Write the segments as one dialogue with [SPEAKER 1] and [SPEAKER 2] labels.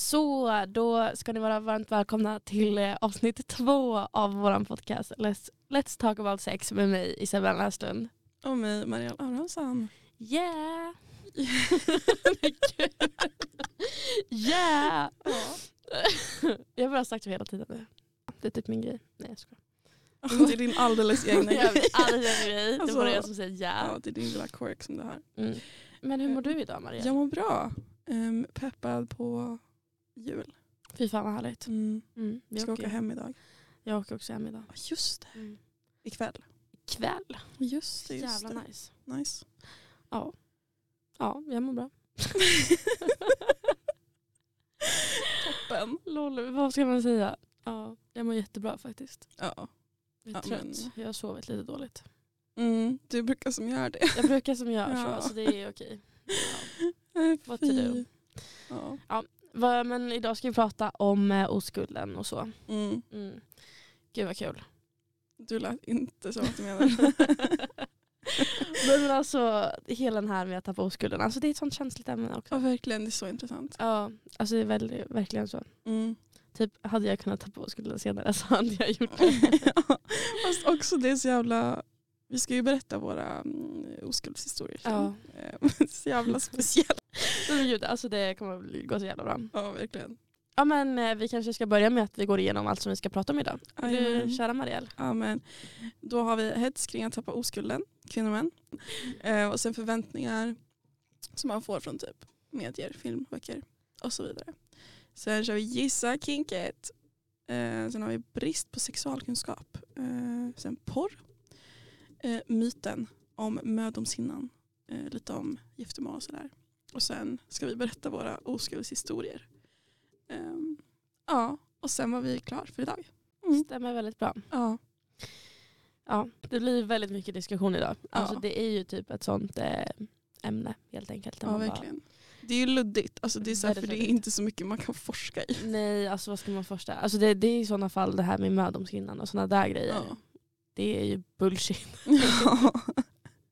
[SPEAKER 1] Så då ska ni vara varmt välkomna till eh, avsnitt två av vår podcast Let's, Let's talk about sex med mig Isabella Näslund.
[SPEAKER 2] Och mig, Marielle Abrahamsson.
[SPEAKER 1] Yeah! yeah! jag har bara sagt det hela tiden nu. Det är typ min grej. Nej jag skojar.
[SPEAKER 2] Det är din alldeles egna
[SPEAKER 1] Jag
[SPEAKER 2] grej.
[SPEAKER 1] vet aldrig en grej. Det
[SPEAKER 2] Alltså,
[SPEAKER 1] var bara jag som säger yeah.
[SPEAKER 2] Ja, det är din lilla quirk som du har.
[SPEAKER 1] Mm. Men hur mår du idag Maria?
[SPEAKER 2] Jag mår bra. Ehm, peppad på jul.
[SPEAKER 1] Fy fan vad härligt.
[SPEAKER 2] Mm.
[SPEAKER 1] Mm.
[SPEAKER 2] Jag
[SPEAKER 1] Jag,
[SPEAKER 2] ska åka
[SPEAKER 1] åker.
[SPEAKER 2] hem idag.
[SPEAKER 1] jag åker också hem idag.
[SPEAKER 2] Ja, Just det.
[SPEAKER 1] Mm.
[SPEAKER 2] Ikväll.
[SPEAKER 1] Kväll.
[SPEAKER 2] Just det. Just
[SPEAKER 1] Jävla
[SPEAKER 2] det.
[SPEAKER 1] nice.
[SPEAKER 2] Nice.
[SPEAKER 1] Ja. Ja, jag mår bra.
[SPEAKER 2] Toppen.
[SPEAKER 1] Lol, vad ska man säga? Ja, jag mår jättebra faktiskt.
[SPEAKER 2] Ja.
[SPEAKER 1] Jag är
[SPEAKER 2] Ja,
[SPEAKER 1] trött. Jag har sovit lite dåligt.
[SPEAKER 2] Mm. Du brukar som gör det.
[SPEAKER 1] Jag brukar som jag
[SPEAKER 2] Ja.
[SPEAKER 1] så, så det är okej.
[SPEAKER 2] Nej,
[SPEAKER 1] What to do.
[SPEAKER 2] fy. Ja.
[SPEAKER 1] Va, men idag ska vi prata om eh, oskulden och så.
[SPEAKER 2] Mm.
[SPEAKER 1] Mm. Gud vad kul.
[SPEAKER 2] Du lät inte som att du menade
[SPEAKER 1] men, men alltså hela den här med att tappa oskulden, alltså det är ett sånt känsligt ämne också.
[SPEAKER 2] Ja, verkligen. Det är så intressant.
[SPEAKER 1] Ja, alltså det är väl, verkligen så.
[SPEAKER 2] Mm.
[SPEAKER 1] Typ hade jag kunnat tappa oskulden senare så hade jag gjort det.
[SPEAKER 2] Fast också det är så jävla... Vi ska ju berätta våra mm, oskuldshistorier. sen.
[SPEAKER 1] Ja.
[SPEAKER 2] Eh, så jävla speciellt.
[SPEAKER 1] Nej, men gud, alltså det kommer bli- gå så jävla bra.
[SPEAKER 2] Ja, verkligen.
[SPEAKER 1] Ja men eh, vi kanske ska börja med att vi går igenom allt som vi ska prata om idag. Du,
[SPEAKER 2] Jajamän.
[SPEAKER 1] kära Marielle.
[SPEAKER 2] Ja, men då har vi hets kring att tappa oskulden, kvinnor och män. Eh, och sen förväntningar som man får från typ medier, film, böcker och så vidare. Sen kör vi gissa kinket. Eh, sen har vi brist på sexualkunskap. Eh, sen porr. Eh, myten om mödomshinnan. Eh, lite om giftermål och sådär. Och sen ska vi berätta våra oskuldshistorier. Eh, ja, och sen var vi klar för idag. Mm.
[SPEAKER 1] Stämmer väldigt bra.
[SPEAKER 2] Ja.
[SPEAKER 1] Ja, det blir väldigt mycket diskussion idag. Alltså
[SPEAKER 2] Ja.
[SPEAKER 1] det är ju typ ett sånt eh, ämne helt enkelt. där
[SPEAKER 2] Ja
[SPEAKER 1] man bara-
[SPEAKER 2] verkligen. Det är ju luddigt, alltså det är så här, för
[SPEAKER 1] Väldigt
[SPEAKER 2] det är
[SPEAKER 1] luddigt.
[SPEAKER 2] inte så mycket man kan forska i.
[SPEAKER 1] Nej, alltså vad ska man första? Alltså det, det är i sådana fall det här med mödomshinnan och sådana där grejer.
[SPEAKER 2] Ja.
[SPEAKER 1] Det är ju bullshit.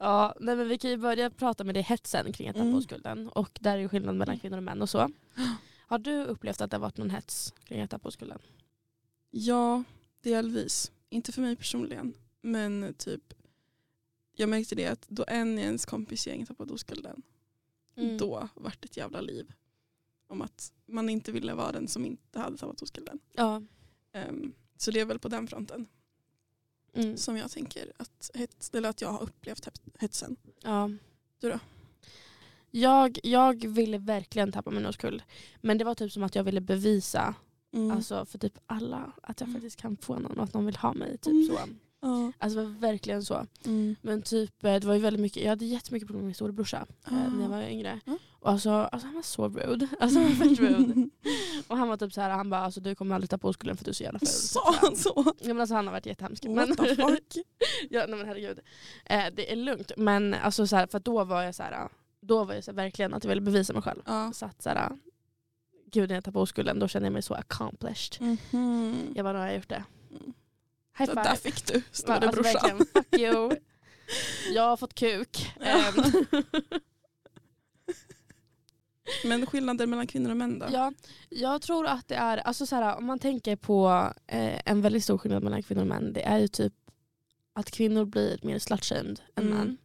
[SPEAKER 1] Ja, nej, men vi kan ju börja prata med det hetsen kring att tappa
[SPEAKER 2] Mm.
[SPEAKER 1] oskulden. Och där är ju skillnaden mellan
[SPEAKER 2] Mm.
[SPEAKER 1] kvinnor och män och så. Har du upplevt att det har varit någon hets kring att tappa oskulden?
[SPEAKER 2] ja, delvis. Inte för mig personligen. Men typ, jag märkte det att då en i ens kompisgäng tappade oskulden,
[SPEAKER 1] Mm.
[SPEAKER 2] då vart det ett jävla liv. Om att man inte ville vara den som inte hade tappat oskulden.
[SPEAKER 1] Ja.
[SPEAKER 2] Ehm, så det är väl på den fronten
[SPEAKER 1] Mm.
[SPEAKER 2] som jag tänker att, hets, eller att jag har upplevt hep- hetsen.
[SPEAKER 1] Ja.
[SPEAKER 2] Du då?
[SPEAKER 1] Jag, jag ville verkligen tappa min oskuld. Men det var typ som att jag ville bevisa
[SPEAKER 2] Mm.
[SPEAKER 1] alltså, för typ alla att jag
[SPEAKER 2] Mm.
[SPEAKER 1] faktiskt kan få någon och att någon vill ha mig. Typ
[SPEAKER 2] Mm.
[SPEAKER 1] så.
[SPEAKER 2] ja.
[SPEAKER 1] Alltså det var verkligen så.
[SPEAKER 2] Mm.
[SPEAKER 1] Men typ, eh, det var ju väldigt mycket, jag hade jättemycket problem med min storebrorsa eh, när jag var yngre.
[SPEAKER 2] Ah. Ja.
[SPEAKER 1] Och alltså, alltså, han var så rude. Alltså, han var fett rude. Och han var typ så här, han bara alltså, du kommer aldrig tappa oskulden för du är så jävla ful.
[SPEAKER 2] Sa han så?
[SPEAKER 1] Ja, men alltså, han har varit jättehemsk. Men,
[SPEAKER 2] What the fuck?
[SPEAKER 1] Ja, nej men herregud. Eh, det är lugnt. Men alltså, så här, för att då var jag så här, då var jag så här, verkligen att jag ville bevisa mig själv.
[SPEAKER 2] Ja.
[SPEAKER 1] Så att så här, gud när jag tappade oskulden då kände jag mig så accomplished.
[SPEAKER 2] Mhm.
[SPEAKER 1] Jag bara, nu har jag gjort det.
[SPEAKER 2] Mm.
[SPEAKER 1] High
[SPEAKER 2] Så
[SPEAKER 1] five.
[SPEAKER 2] där fick du
[SPEAKER 1] Ja, alltså,
[SPEAKER 2] storebrorsan.
[SPEAKER 1] verkligen, fuck you. Jag har fått kuk. Ehm,
[SPEAKER 2] Men skillnaden mellan kvinnor och män då?
[SPEAKER 1] ja, jag tror att det är, alltså så här, om man tänker på eh, en väldigt stor skillnad mellan kvinnor och män. Det är ju typ att kvinnor blir mer slutshamed än
[SPEAKER 2] Mm.
[SPEAKER 1] män.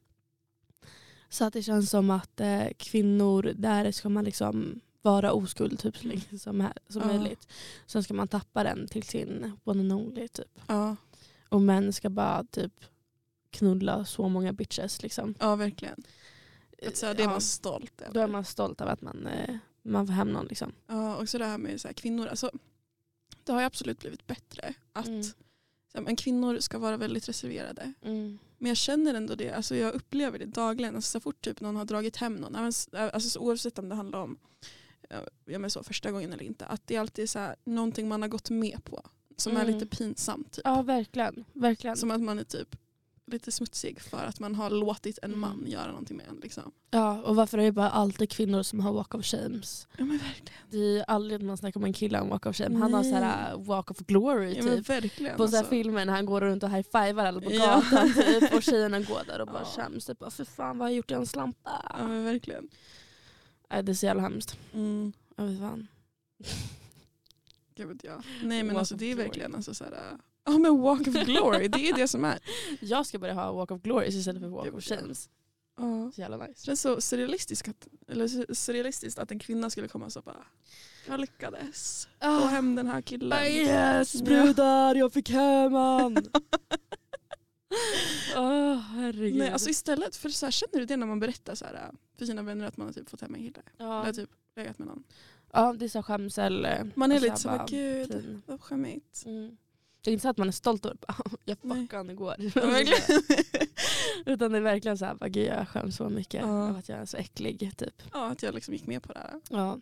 [SPEAKER 1] Så att det känns som att eh, kvinnor, där ska man liksom vara oskuld typ så länge som, här, som
[SPEAKER 2] Mm. Ja.
[SPEAKER 1] möjligt. Sen ska man tappa den till sin one and only typ.
[SPEAKER 2] Ja,
[SPEAKER 1] Och män ska bara typ knulla så många bitches liksom. Eh,
[SPEAKER 2] ja verkligen. Att så här, Alltså, det är
[SPEAKER 1] Ja.
[SPEAKER 2] man stolt över.
[SPEAKER 1] Då är man stolt över att man, eh, man får hem någon. Liksom.
[SPEAKER 2] Ja, och så det här med så här, kvinnor. Alltså, det har ju absolut blivit bättre. Att
[SPEAKER 1] Mm.
[SPEAKER 2] så här, men kvinnor ska vara väldigt reserverade.
[SPEAKER 1] mm.
[SPEAKER 2] Men jag känner ändå det. Alltså, jag upplever det dagligen. Alltså, så fort typ, någon har dragit hem någon. även s- Alltså, så, oavsett om det handlar om ja, ja, men så, första gången eller inte. Att det alltid är så här, någonting man har gått med på. Som är
[SPEAKER 1] Mm.
[SPEAKER 2] lite pinsamt. Typ.
[SPEAKER 1] Ja, verkligen. verkligen.
[SPEAKER 2] Som att man är typ lite smutsig för att man har låtit en
[SPEAKER 1] Mm.
[SPEAKER 2] man göra någonting med en. Liksom.
[SPEAKER 1] Ja, och varför är det bara alltid kvinnor som har walk of shames?
[SPEAKER 2] Ja men verkligen.
[SPEAKER 1] Det är ju aldrig att man snackar om en kille om walk of shame. Han har
[SPEAKER 2] Nej.
[SPEAKER 1] så här uh, walk of glory
[SPEAKER 2] Ja, men
[SPEAKER 1] typ.
[SPEAKER 2] verkligen
[SPEAKER 1] På så här
[SPEAKER 2] alltså.
[SPEAKER 1] filmer när han går runt och high-fivar alla på
[SPEAKER 2] Ja.
[SPEAKER 1] gatan typ, och tjejerna går där och bara
[SPEAKER 2] Ja.
[SPEAKER 1] skäms. Typ, bara, för fan vad har jag gjort i en slampa?
[SPEAKER 2] Ja men verkligen.
[SPEAKER 1] Nej, det är så jävla hemskt. Jag vet fan.
[SPEAKER 2] Gud vet jag. Nej men
[SPEAKER 1] Walk
[SPEAKER 2] alltså
[SPEAKER 1] of
[SPEAKER 2] det är
[SPEAKER 1] glory.
[SPEAKER 2] verkligen alltså så här, äh, ja men walk of glory, det är det som är.
[SPEAKER 1] Jag ska börja ha walk of glories istället för walk
[SPEAKER 2] Jag
[SPEAKER 1] of
[SPEAKER 2] vet inte.
[SPEAKER 1] shame.
[SPEAKER 2] Ja.
[SPEAKER 1] Så jävla nice.
[SPEAKER 2] Det är så surrealistiskt att, eller su- surrealistiskt att en kvinna skulle komma och så bara, jag lyckades få
[SPEAKER 1] Ah,
[SPEAKER 2] hem den här killen.
[SPEAKER 1] yes brudar, jag fick hem han. Åh herregud.
[SPEAKER 2] Nej, alltså istället, för så här, känner du det när man berättar så här, äh, för sina vänner att man har typ fått hem en kille? Eller
[SPEAKER 1] ja.
[SPEAKER 2] typ legat med någon.
[SPEAKER 1] ja det är så skämsel. eh,
[SPEAKER 2] Man är
[SPEAKER 1] och
[SPEAKER 2] lite så
[SPEAKER 1] bara,
[SPEAKER 2] här, gud
[SPEAKER 1] fin.
[SPEAKER 2] vad skämmigt.
[SPEAKER 1] Mm. Det är inte så att man är stolt över bara, jag
[SPEAKER 2] Nej.
[SPEAKER 1] fuckade han igår.
[SPEAKER 2] Ja, verkligen.
[SPEAKER 1] Utan det är verkligen så här, bara, gud jag skäms så mycket
[SPEAKER 2] Ja.
[SPEAKER 1] av att jag är så äcklig. Typ.
[SPEAKER 2] ja, att jag liksom gick med på det här.
[SPEAKER 1] Ja.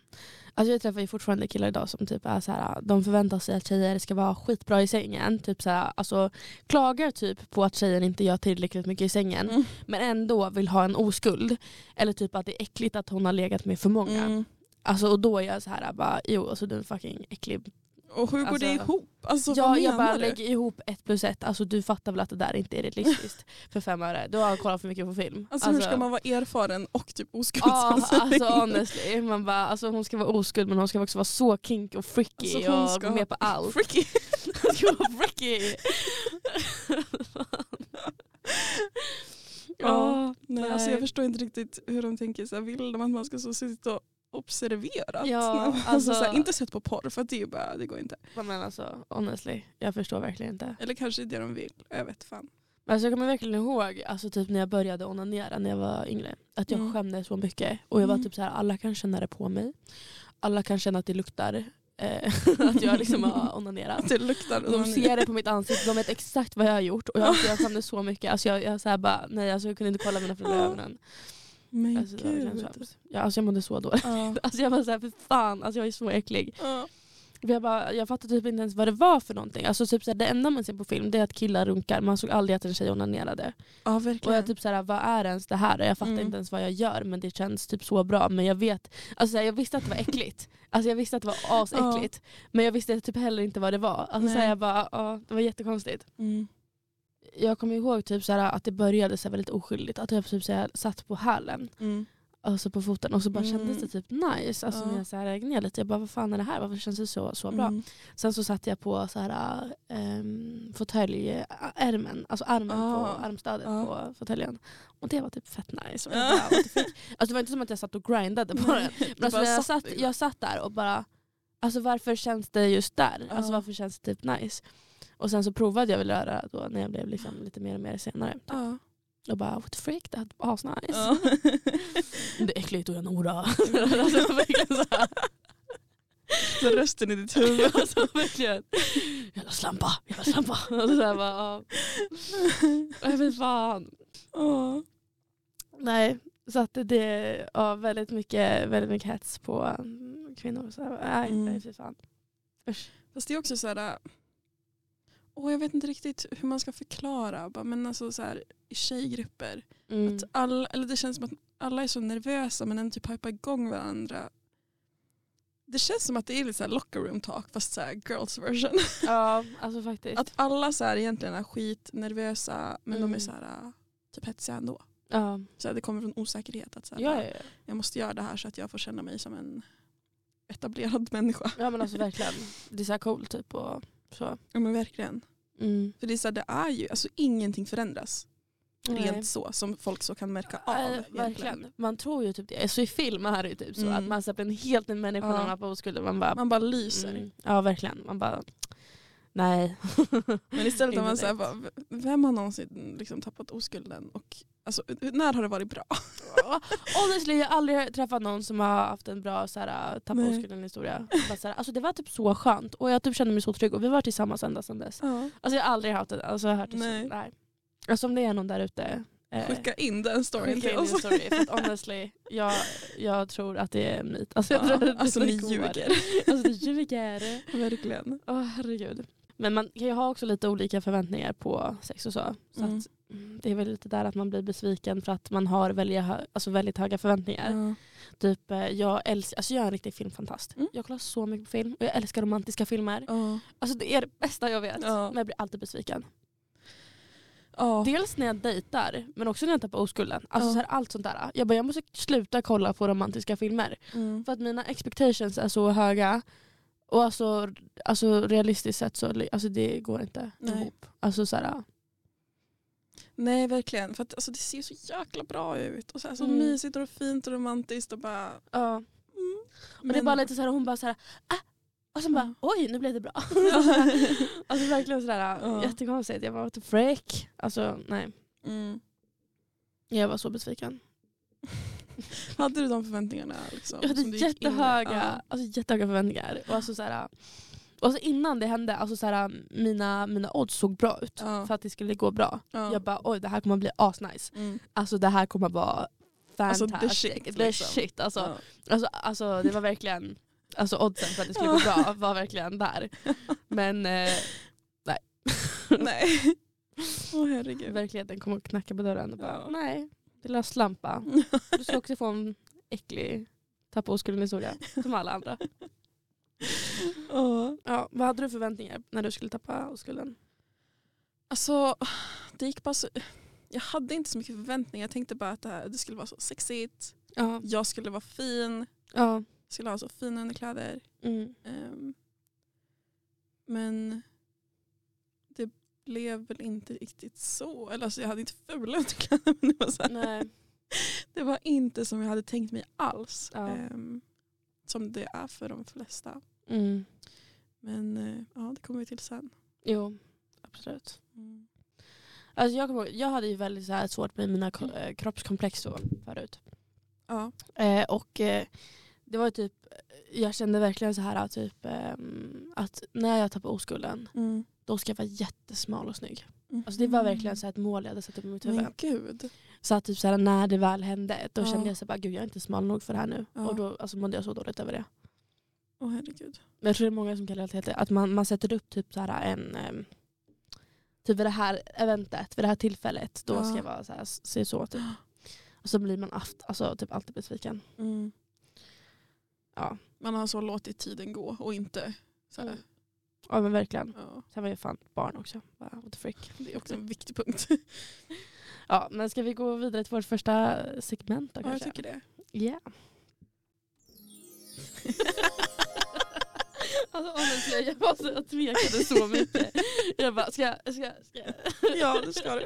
[SPEAKER 1] Alltså jag träffar ju fortfarande killar idag som typ är så här, de förväntar sig att tjejer ska vara skitbra i sängen. Typ så här, alltså, klagar typ på att tjejer inte gör tillräckligt mycket i sängen
[SPEAKER 2] Mm.
[SPEAKER 1] men ändå vill ha en oskuld. Eller typ att det är äckligt att hon har legat med för många.
[SPEAKER 2] Mm.
[SPEAKER 1] Alltså, och då är jag så här, bara, jo alltså du är en fucking äcklig
[SPEAKER 2] Och hur går det
[SPEAKER 1] Alltså-
[SPEAKER 2] ihop? Alltså, vad
[SPEAKER 1] ja,
[SPEAKER 2] menar
[SPEAKER 1] jag bara
[SPEAKER 2] du?
[SPEAKER 1] lägger ihop ett plus ett. Alltså, du fattar väl att det där inte är realistiskt för fem öre. Du har kollat för mycket på film.
[SPEAKER 2] Alltså, hur ska man vara erfaren och typ
[SPEAKER 1] Ja,
[SPEAKER 2] oskuldsanställd?
[SPEAKER 1] alltså honestly. Man bara, alltså, hon ska vara oskuld men hon ska också vara så kink och freaky
[SPEAKER 2] Alltså, hon
[SPEAKER 1] och
[SPEAKER 2] ska
[SPEAKER 1] gå med på allt.
[SPEAKER 2] Freaky.
[SPEAKER 1] Hon ska vara freaky!
[SPEAKER 2] Ja,
[SPEAKER 1] Ja,
[SPEAKER 2] Nej, alltså, jag förstår inte riktigt hur de tänker. Så här, vill de att man ska så sitta och observera?
[SPEAKER 1] Ja,
[SPEAKER 2] alltså,
[SPEAKER 1] alltså-
[SPEAKER 2] så här, inte sett på porr för att det är ju bara, det går inte.
[SPEAKER 1] men alltså honestly, jag förstår verkligen inte.
[SPEAKER 2] Eller kanske det de vill, jag vet fan.
[SPEAKER 1] Alltså jag kommer verkligen ihåg alltså typ när jag började onanera när jag var yngre. Att jag
[SPEAKER 2] Mm.
[SPEAKER 1] skämdes så mycket. Och jag var
[SPEAKER 2] Mm.
[SPEAKER 1] typ så här, alla kan känna det på mig. Alla kan känna att det luktar. Eh, att jag liksom har onanerat.
[SPEAKER 2] Att det luktar
[SPEAKER 1] De ser det på mitt ansikte, de vet exakt vad jag har gjort. Och jag, alltså, jag skämdes så mycket. Alltså jag, jag, så här bara, nej, alltså, jag kunde inte kolla mina föräldrar i ögonen.
[SPEAKER 2] Men
[SPEAKER 1] Alltså, det var verkligen
[SPEAKER 2] gud.
[SPEAKER 1] så hemskt. ja, alltså, jag mådde så dåligt.
[SPEAKER 2] Ja.
[SPEAKER 1] Alltså jag var såhär, för fan, alltså, jag är så äcklig.
[SPEAKER 2] Ja.
[SPEAKER 1] För Jag, bara, jag fattade typ inte ens vad det var för någonting. Alltså, typ så här, det enda man ser på film det är att killar runkar. Man såg aldrig att en tjej onanerade.
[SPEAKER 2] ja, verkligen.
[SPEAKER 1] Och jag typ såhär, vad är ens det här? Och Jag fattar
[SPEAKER 2] Mm.
[SPEAKER 1] inte ens vad jag gör men det känns typ så bra. Men jag vet, alltså såhär, jag visste att det var äckligt. Alltså jag visste att det var asäckligt. Men jag visste typ heller inte vad det var. Alltså
[SPEAKER 2] Nej.
[SPEAKER 1] såhär, jag bara, ja, det var jättekonstigt.
[SPEAKER 2] Mm.
[SPEAKER 1] Jag kommer ihåg typ såhär, att det började såhär, väldigt oskyldigt. Att jag typ såhär, satt på hälen,
[SPEAKER 2] Mm.
[SPEAKER 1] alltså på foten och så bara
[SPEAKER 2] Mm.
[SPEAKER 1] kändes det typ nice. Alltså
[SPEAKER 2] Ja.
[SPEAKER 1] när jag såhär, gned lite, jag bara vad fan är det här? Varför känns det så, så bra?
[SPEAKER 2] Mm.
[SPEAKER 1] Sen så satt jag på såhär, um, fåtöljärmen, alltså armen
[SPEAKER 2] Ah.
[SPEAKER 1] på armstödet
[SPEAKER 2] Ah.
[SPEAKER 1] på fåtöljen. Och det var typ fett nice. Och jag
[SPEAKER 2] Ja.
[SPEAKER 1] bara, what the fuck. alltså, det var inte som att jag satt och grindade på den.
[SPEAKER 2] Nej, du
[SPEAKER 1] Men alltså,
[SPEAKER 2] bara
[SPEAKER 1] när jag, satt,
[SPEAKER 2] satt i-
[SPEAKER 1] jag satt där och bara, alltså varför känns det just där? Alltså
[SPEAKER 2] Ja.
[SPEAKER 1] varför känns det typ nice? Och sen så provade jag väl röra då när jag blev liksom lite mer och mer senare.
[SPEAKER 2] Ja.
[SPEAKER 1] Och bara what the freak, det här var asnice.
[SPEAKER 2] Ja.
[SPEAKER 1] Det är äckligt och jag är en hora. alltså, verkligen så här.
[SPEAKER 2] Så rösten i ditt huvud.
[SPEAKER 1] Alltså verkligen. Jävla slampa, jävla slampa. Alltså, så här bara, ja. Nej men fan.
[SPEAKER 2] Ja.
[SPEAKER 1] Nej, så att det är ja, väldigt, mycket, väldigt mycket hets på mm, kvinnor. Så, här. nej,
[SPEAKER 2] Mm.
[SPEAKER 1] nej, fy fan. Usch.
[SPEAKER 2] Fast det är också så här... äh, Åh, jag vet inte riktigt hur man ska förklara. Bara, Men alltså så här, i tjejgrupper.
[SPEAKER 1] Mm.
[SPEAKER 2] Att all, eller det känns som att alla är så nervösa men ändå typ hypar igång varandra. Det känns som att det är lite så här locker room talk fast så här girls version.
[SPEAKER 1] Ja, alltså faktiskt.
[SPEAKER 2] Att alla så här egentligen är skitnervösa men de
[SPEAKER 1] Mm.
[SPEAKER 2] är så här äh, typ hetsiga ändå.
[SPEAKER 1] ja.
[SPEAKER 2] Så här, det kommer från osäkerhet att så här, äh,
[SPEAKER 1] Ja, ja, ja.
[SPEAKER 2] jag måste göra det här så att jag får känna mig som en etablerad människa.
[SPEAKER 1] ja, men alltså verkligen. Det är så här coolt typ. Och så.
[SPEAKER 2] Ja men verkligen.
[SPEAKER 1] Mm.
[SPEAKER 2] För det är, så här, det är ju, alltså ingenting förändras
[SPEAKER 1] Nej.
[SPEAKER 2] rent så som folk så kan märka av.
[SPEAKER 1] Ja,
[SPEAKER 2] egentligen.
[SPEAKER 1] verkligen. Man tror ju typ det. Så i film är det ju typ så
[SPEAKER 2] Mm.
[SPEAKER 1] att man släpper en helt ny människa
[SPEAKER 2] Ja.
[SPEAKER 1] när man är på oskulden. Man bara,
[SPEAKER 2] Man bara lyser.
[SPEAKER 1] Mm. Ja verkligen. Man bara, nej.
[SPEAKER 2] Men istället har man
[SPEAKER 1] Inte
[SPEAKER 2] såhär, bara, v- vem har någonsin liksom tappat oskulden? Och, alltså, när har det varit bra?
[SPEAKER 1] Honestly jag har aldrig träffat någon som har haft en bra så här, tappa
[SPEAKER 2] Nej.
[SPEAKER 1] oskulden historia. Bara, så här, alltså, det var typ så skönt och jag typ kände mig så trygg och vi var tillsammans ända sedan dess. Alltså, jag har aldrig haft det. Alltså, jag har hört det
[SPEAKER 2] Nej.
[SPEAKER 1] Så, nej. Alltså, om det är någon där ute. eh,
[SPEAKER 2] Skicka in den storyn
[SPEAKER 1] skicka
[SPEAKER 2] till
[SPEAKER 1] in din
[SPEAKER 2] oss.
[SPEAKER 1] story. För att honestly jag, jag tror att det är en myt. Alltså, jag tror
[SPEAKER 2] Ja,
[SPEAKER 1] att det
[SPEAKER 2] alltså ni
[SPEAKER 1] går.
[SPEAKER 2] ljuger.
[SPEAKER 1] Alltså ni ljuger.
[SPEAKER 2] Verkligen.
[SPEAKER 1] Åh herregud. Men man kan ju ha också lite olika förväntningar på sex och så. så
[SPEAKER 2] Mm.
[SPEAKER 1] att, mm, det är väl lite där att man blir besviken för att man har väldigt, hö- alltså väldigt höga förväntningar.
[SPEAKER 2] Ja.
[SPEAKER 1] Typ, eh, jag, älskar, alltså jag är en riktig filmfantast.
[SPEAKER 2] Mm.
[SPEAKER 1] Jag kollar så mycket på film och jag älskar romantiska filmer.
[SPEAKER 2] Ja.
[SPEAKER 1] Alltså det är det bästa jag vet.
[SPEAKER 2] Ja.
[SPEAKER 1] Men jag blir alltid besviken.
[SPEAKER 2] Ja.
[SPEAKER 1] Dels när jag dejtar men också när jag tappar oskulden. Alltså
[SPEAKER 2] Ja.
[SPEAKER 1] så här, allt sånt där. Jag bara jag måste sluta kolla på romantiska filmer.
[SPEAKER 2] Mm.
[SPEAKER 1] För att mina expectations är så höga. Och alltså, alltså realistiskt sett så alltså det går inte
[SPEAKER 2] Nej.
[SPEAKER 1] ihop. Alltså så här,
[SPEAKER 2] Nej verkligen, för att, alltså, det ser så jäkla bra ut. Och så, här, så
[SPEAKER 1] Mm.
[SPEAKER 2] mysigt och fint och romantiskt och bara...
[SPEAKER 1] ja.
[SPEAKER 2] Mm.
[SPEAKER 1] Men det är bara lite så här, hon bara så här, ah! Och sen bara oj nu blev det bra. alltså verkligen sådär
[SPEAKER 2] Ja.
[SPEAKER 1] jättekonstigt. Jag var typ lite fräck. Alltså nej.
[SPEAKER 2] Mm.
[SPEAKER 1] Jag var så besviken.
[SPEAKER 2] Hade du de förväntningarna? Liksom,
[SPEAKER 1] Jag hade
[SPEAKER 2] som du gick in i?
[SPEAKER 1] jättehöga,
[SPEAKER 2] Ja.
[SPEAKER 1] alltså, jättehöga förväntningar. Och alltså, såhär, och alltså, innan det hände, alltså, såhär, mina, mina odds såg bra ut.
[SPEAKER 2] Ja.
[SPEAKER 1] För att det skulle gå bra.
[SPEAKER 2] Ja.
[SPEAKER 1] Jag bara oj det här kommer bli asnice.
[SPEAKER 2] Mm.
[SPEAKER 1] Alltså det här kommer vara
[SPEAKER 2] Alltså, the
[SPEAKER 1] fantastic.
[SPEAKER 2] shit,
[SPEAKER 1] The
[SPEAKER 2] liksom.
[SPEAKER 1] shit, alltså.
[SPEAKER 2] Ja.
[SPEAKER 1] Alltså, alltså det var verkligen, alltså oddsen för att det skulle gå bra var verkligen där. Men eh,
[SPEAKER 2] Nej. Åh herregud.
[SPEAKER 1] verkligheten kom och knackade på dörren och bara
[SPEAKER 2] Ja.
[SPEAKER 1] nej, lilla slampa. Du ska också få en äcklig tappa oskulden historia som alla andra.
[SPEAKER 2] Ja.
[SPEAKER 1] Ja, vad hade du förväntningar när du skulle tappa oskulden?
[SPEAKER 2] Alltså, det gick bara så... Jag hade inte så mycket förväntningar. Jag tänkte bara att det, här, det skulle vara så sexigt.
[SPEAKER 1] Ja.
[SPEAKER 2] Jag skulle vara fin.
[SPEAKER 1] ja.
[SPEAKER 2] Jag skulle ha så fina underkläder.
[SPEAKER 1] Mm.
[SPEAKER 2] Ehm, men det blev väl inte riktigt så. Eller alltså, jag hade inte fula underkläder. Men det, var så här,
[SPEAKER 1] Nej.
[SPEAKER 2] det var inte som jag hade tänkt mig alls.
[SPEAKER 1] Ja.
[SPEAKER 2] Ehm, som det är för de flesta.
[SPEAKER 1] Mm.
[SPEAKER 2] Men eh, ja, det kommer vi till sen.
[SPEAKER 1] Jo, absolut.
[SPEAKER 2] Mm.
[SPEAKER 1] Alltså jag, kommer ihåg, jag hade ju väldigt så här svårt med mina ko- eh, kroppskomplex då, förut.
[SPEAKER 2] Ja.
[SPEAKER 1] Eh, och eh, det var ju typ, jag kände verkligen så här typ ehm, att när jag tappar oskulden
[SPEAKER 2] Mm.
[SPEAKER 1] då ska jag vara jättesmal och snygg. Alltså det var verkligen så här ett mål jag hade satt upp i mitt huvud.
[SPEAKER 2] Men gud.
[SPEAKER 1] Så att typ så här, när det väl hände då
[SPEAKER 2] Ja.
[SPEAKER 1] kände jag så här, bara, gud jag är inte smal nog för det här nu.
[SPEAKER 2] Ja.
[SPEAKER 1] Och då alltså, mådde jag så dåligt över det.
[SPEAKER 2] Åh herregud.
[SPEAKER 1] Men jag tror det är många som kan relatera till det, att man, man sätter upp typ så här en ehm, Typ vid det här eventet, vid det här tillfället, då
[SPEAKER 2] Ja.
[SPEAKER 1] ska jag vara så här, se så typ. Och så blir man aft, alltså, typ alltid besviken. Ja,
[SPEAKER 2] Man har så låtit tiden gå och inte så här,
[SPEAKER 1] Mm. ja men verkligen.
[SPEAKER 2] ja,
[SPEAKER 1] Sen var jag fan barn också. Bara, What the freak.
[SPEAKER 2] Det är också en viktig punkt.
[SPEAKER 1] Ja, men ska vi gå vidare till vårt första segment då
[SPEAKER 2] Ja, jag
[SPEAKER 1] kanske?
[SPEAKER 2] tycker det.
[SPEAKER 1] Yeah. alltså honestly, jag, var så, jag tvekade så mycket. Jag bara, ska jag? Ska, jag- ska. jag?
[SPEAKER 2] Ja, det ska du.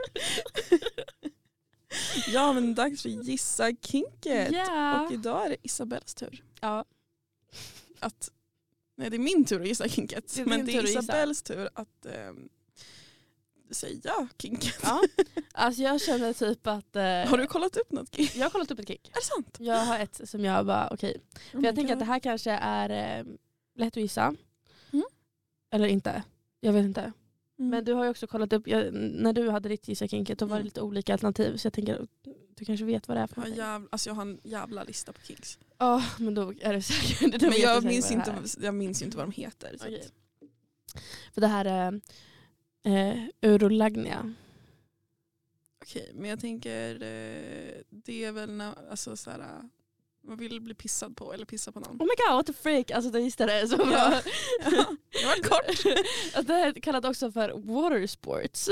[SPEAKER 2] Ja, men dags för Gissa Kinket.
[SPEAKER 1] Yeah.
[SPEAKER 2] Och idag är det Isabells tur.
[SPEAKER 1] Ja.
[SPEAKER 2] Att, nej, det är min tur att gissa Kinket.
[SPEAKER 1] Det är
[SPEAKER 2] men
[SPEAKER 1] din
[SPEAKER 2] det
[SPEAKER 1] tur
[SPEAKER 2] är
[SPEAKER 1] att gissa.
[SPEAKER 2] Isabells tur att ehm, säga Kinket.
[SPEAKER 1] Ja. Alltså jag känner typ att eh,
[SPEAKER 2] Har du kollat upp något kink?
[SPEAKER 1] jag har kollat upp ett kick.
[SPEAKER 2] Är det sant?
[SPEAKER 1] Jag har ett som jag bara, okej. För jag tänker att det här kanske är eh, lätt att gissa.
[SPEAKER 2] Mm.
[SPEAKER 1] Eller inte. Jag vet inte.
[SPEAKER 2] Mm.
[SPEAKER 1] Men du har ju också kollat upp, jag, när du hade ditt gissa kinket då var det
[SPEAKER 2] Mm.
[SPEAKER 1] lite olika alternativ så jag tänker du kanske vet vad det är för
[SPEAKER 2] jag, har
[SPEAKER 1] någonting.
[SPEAKER 2] jävla, alltså jag har en jävla lista på kinks.
[SPEAKER 1] Ja men då är du säker. då
[SPEAKER 2] Men
[SPEAKER 1] vet
[SPEAKER 2] jag
[SPEAKER 1] du säkert
[SPEAKER 2] minns,
[SPEAKER 1] vad det här
[SPEAKER 2] inte, jag minns ju inte vad de heter. Så
[SPEAKER 1] Okej.
[SPEAKER 2] att,
[SPEAKER 1] är. För det här är eh, urolagnia.
[SPEAKER 2] Okej, men jag tänker eh, det är väl när, alltså så här, man vill bli pissad på eller pissa på någon.
[SPEAKER 1] Oh my god what the freak, alltså det gissade det så bra.
[SPEAKER 2] Ja. Ja, det var kort.
[SPEAKER 1] Alltså, det här är kallat också för water sports.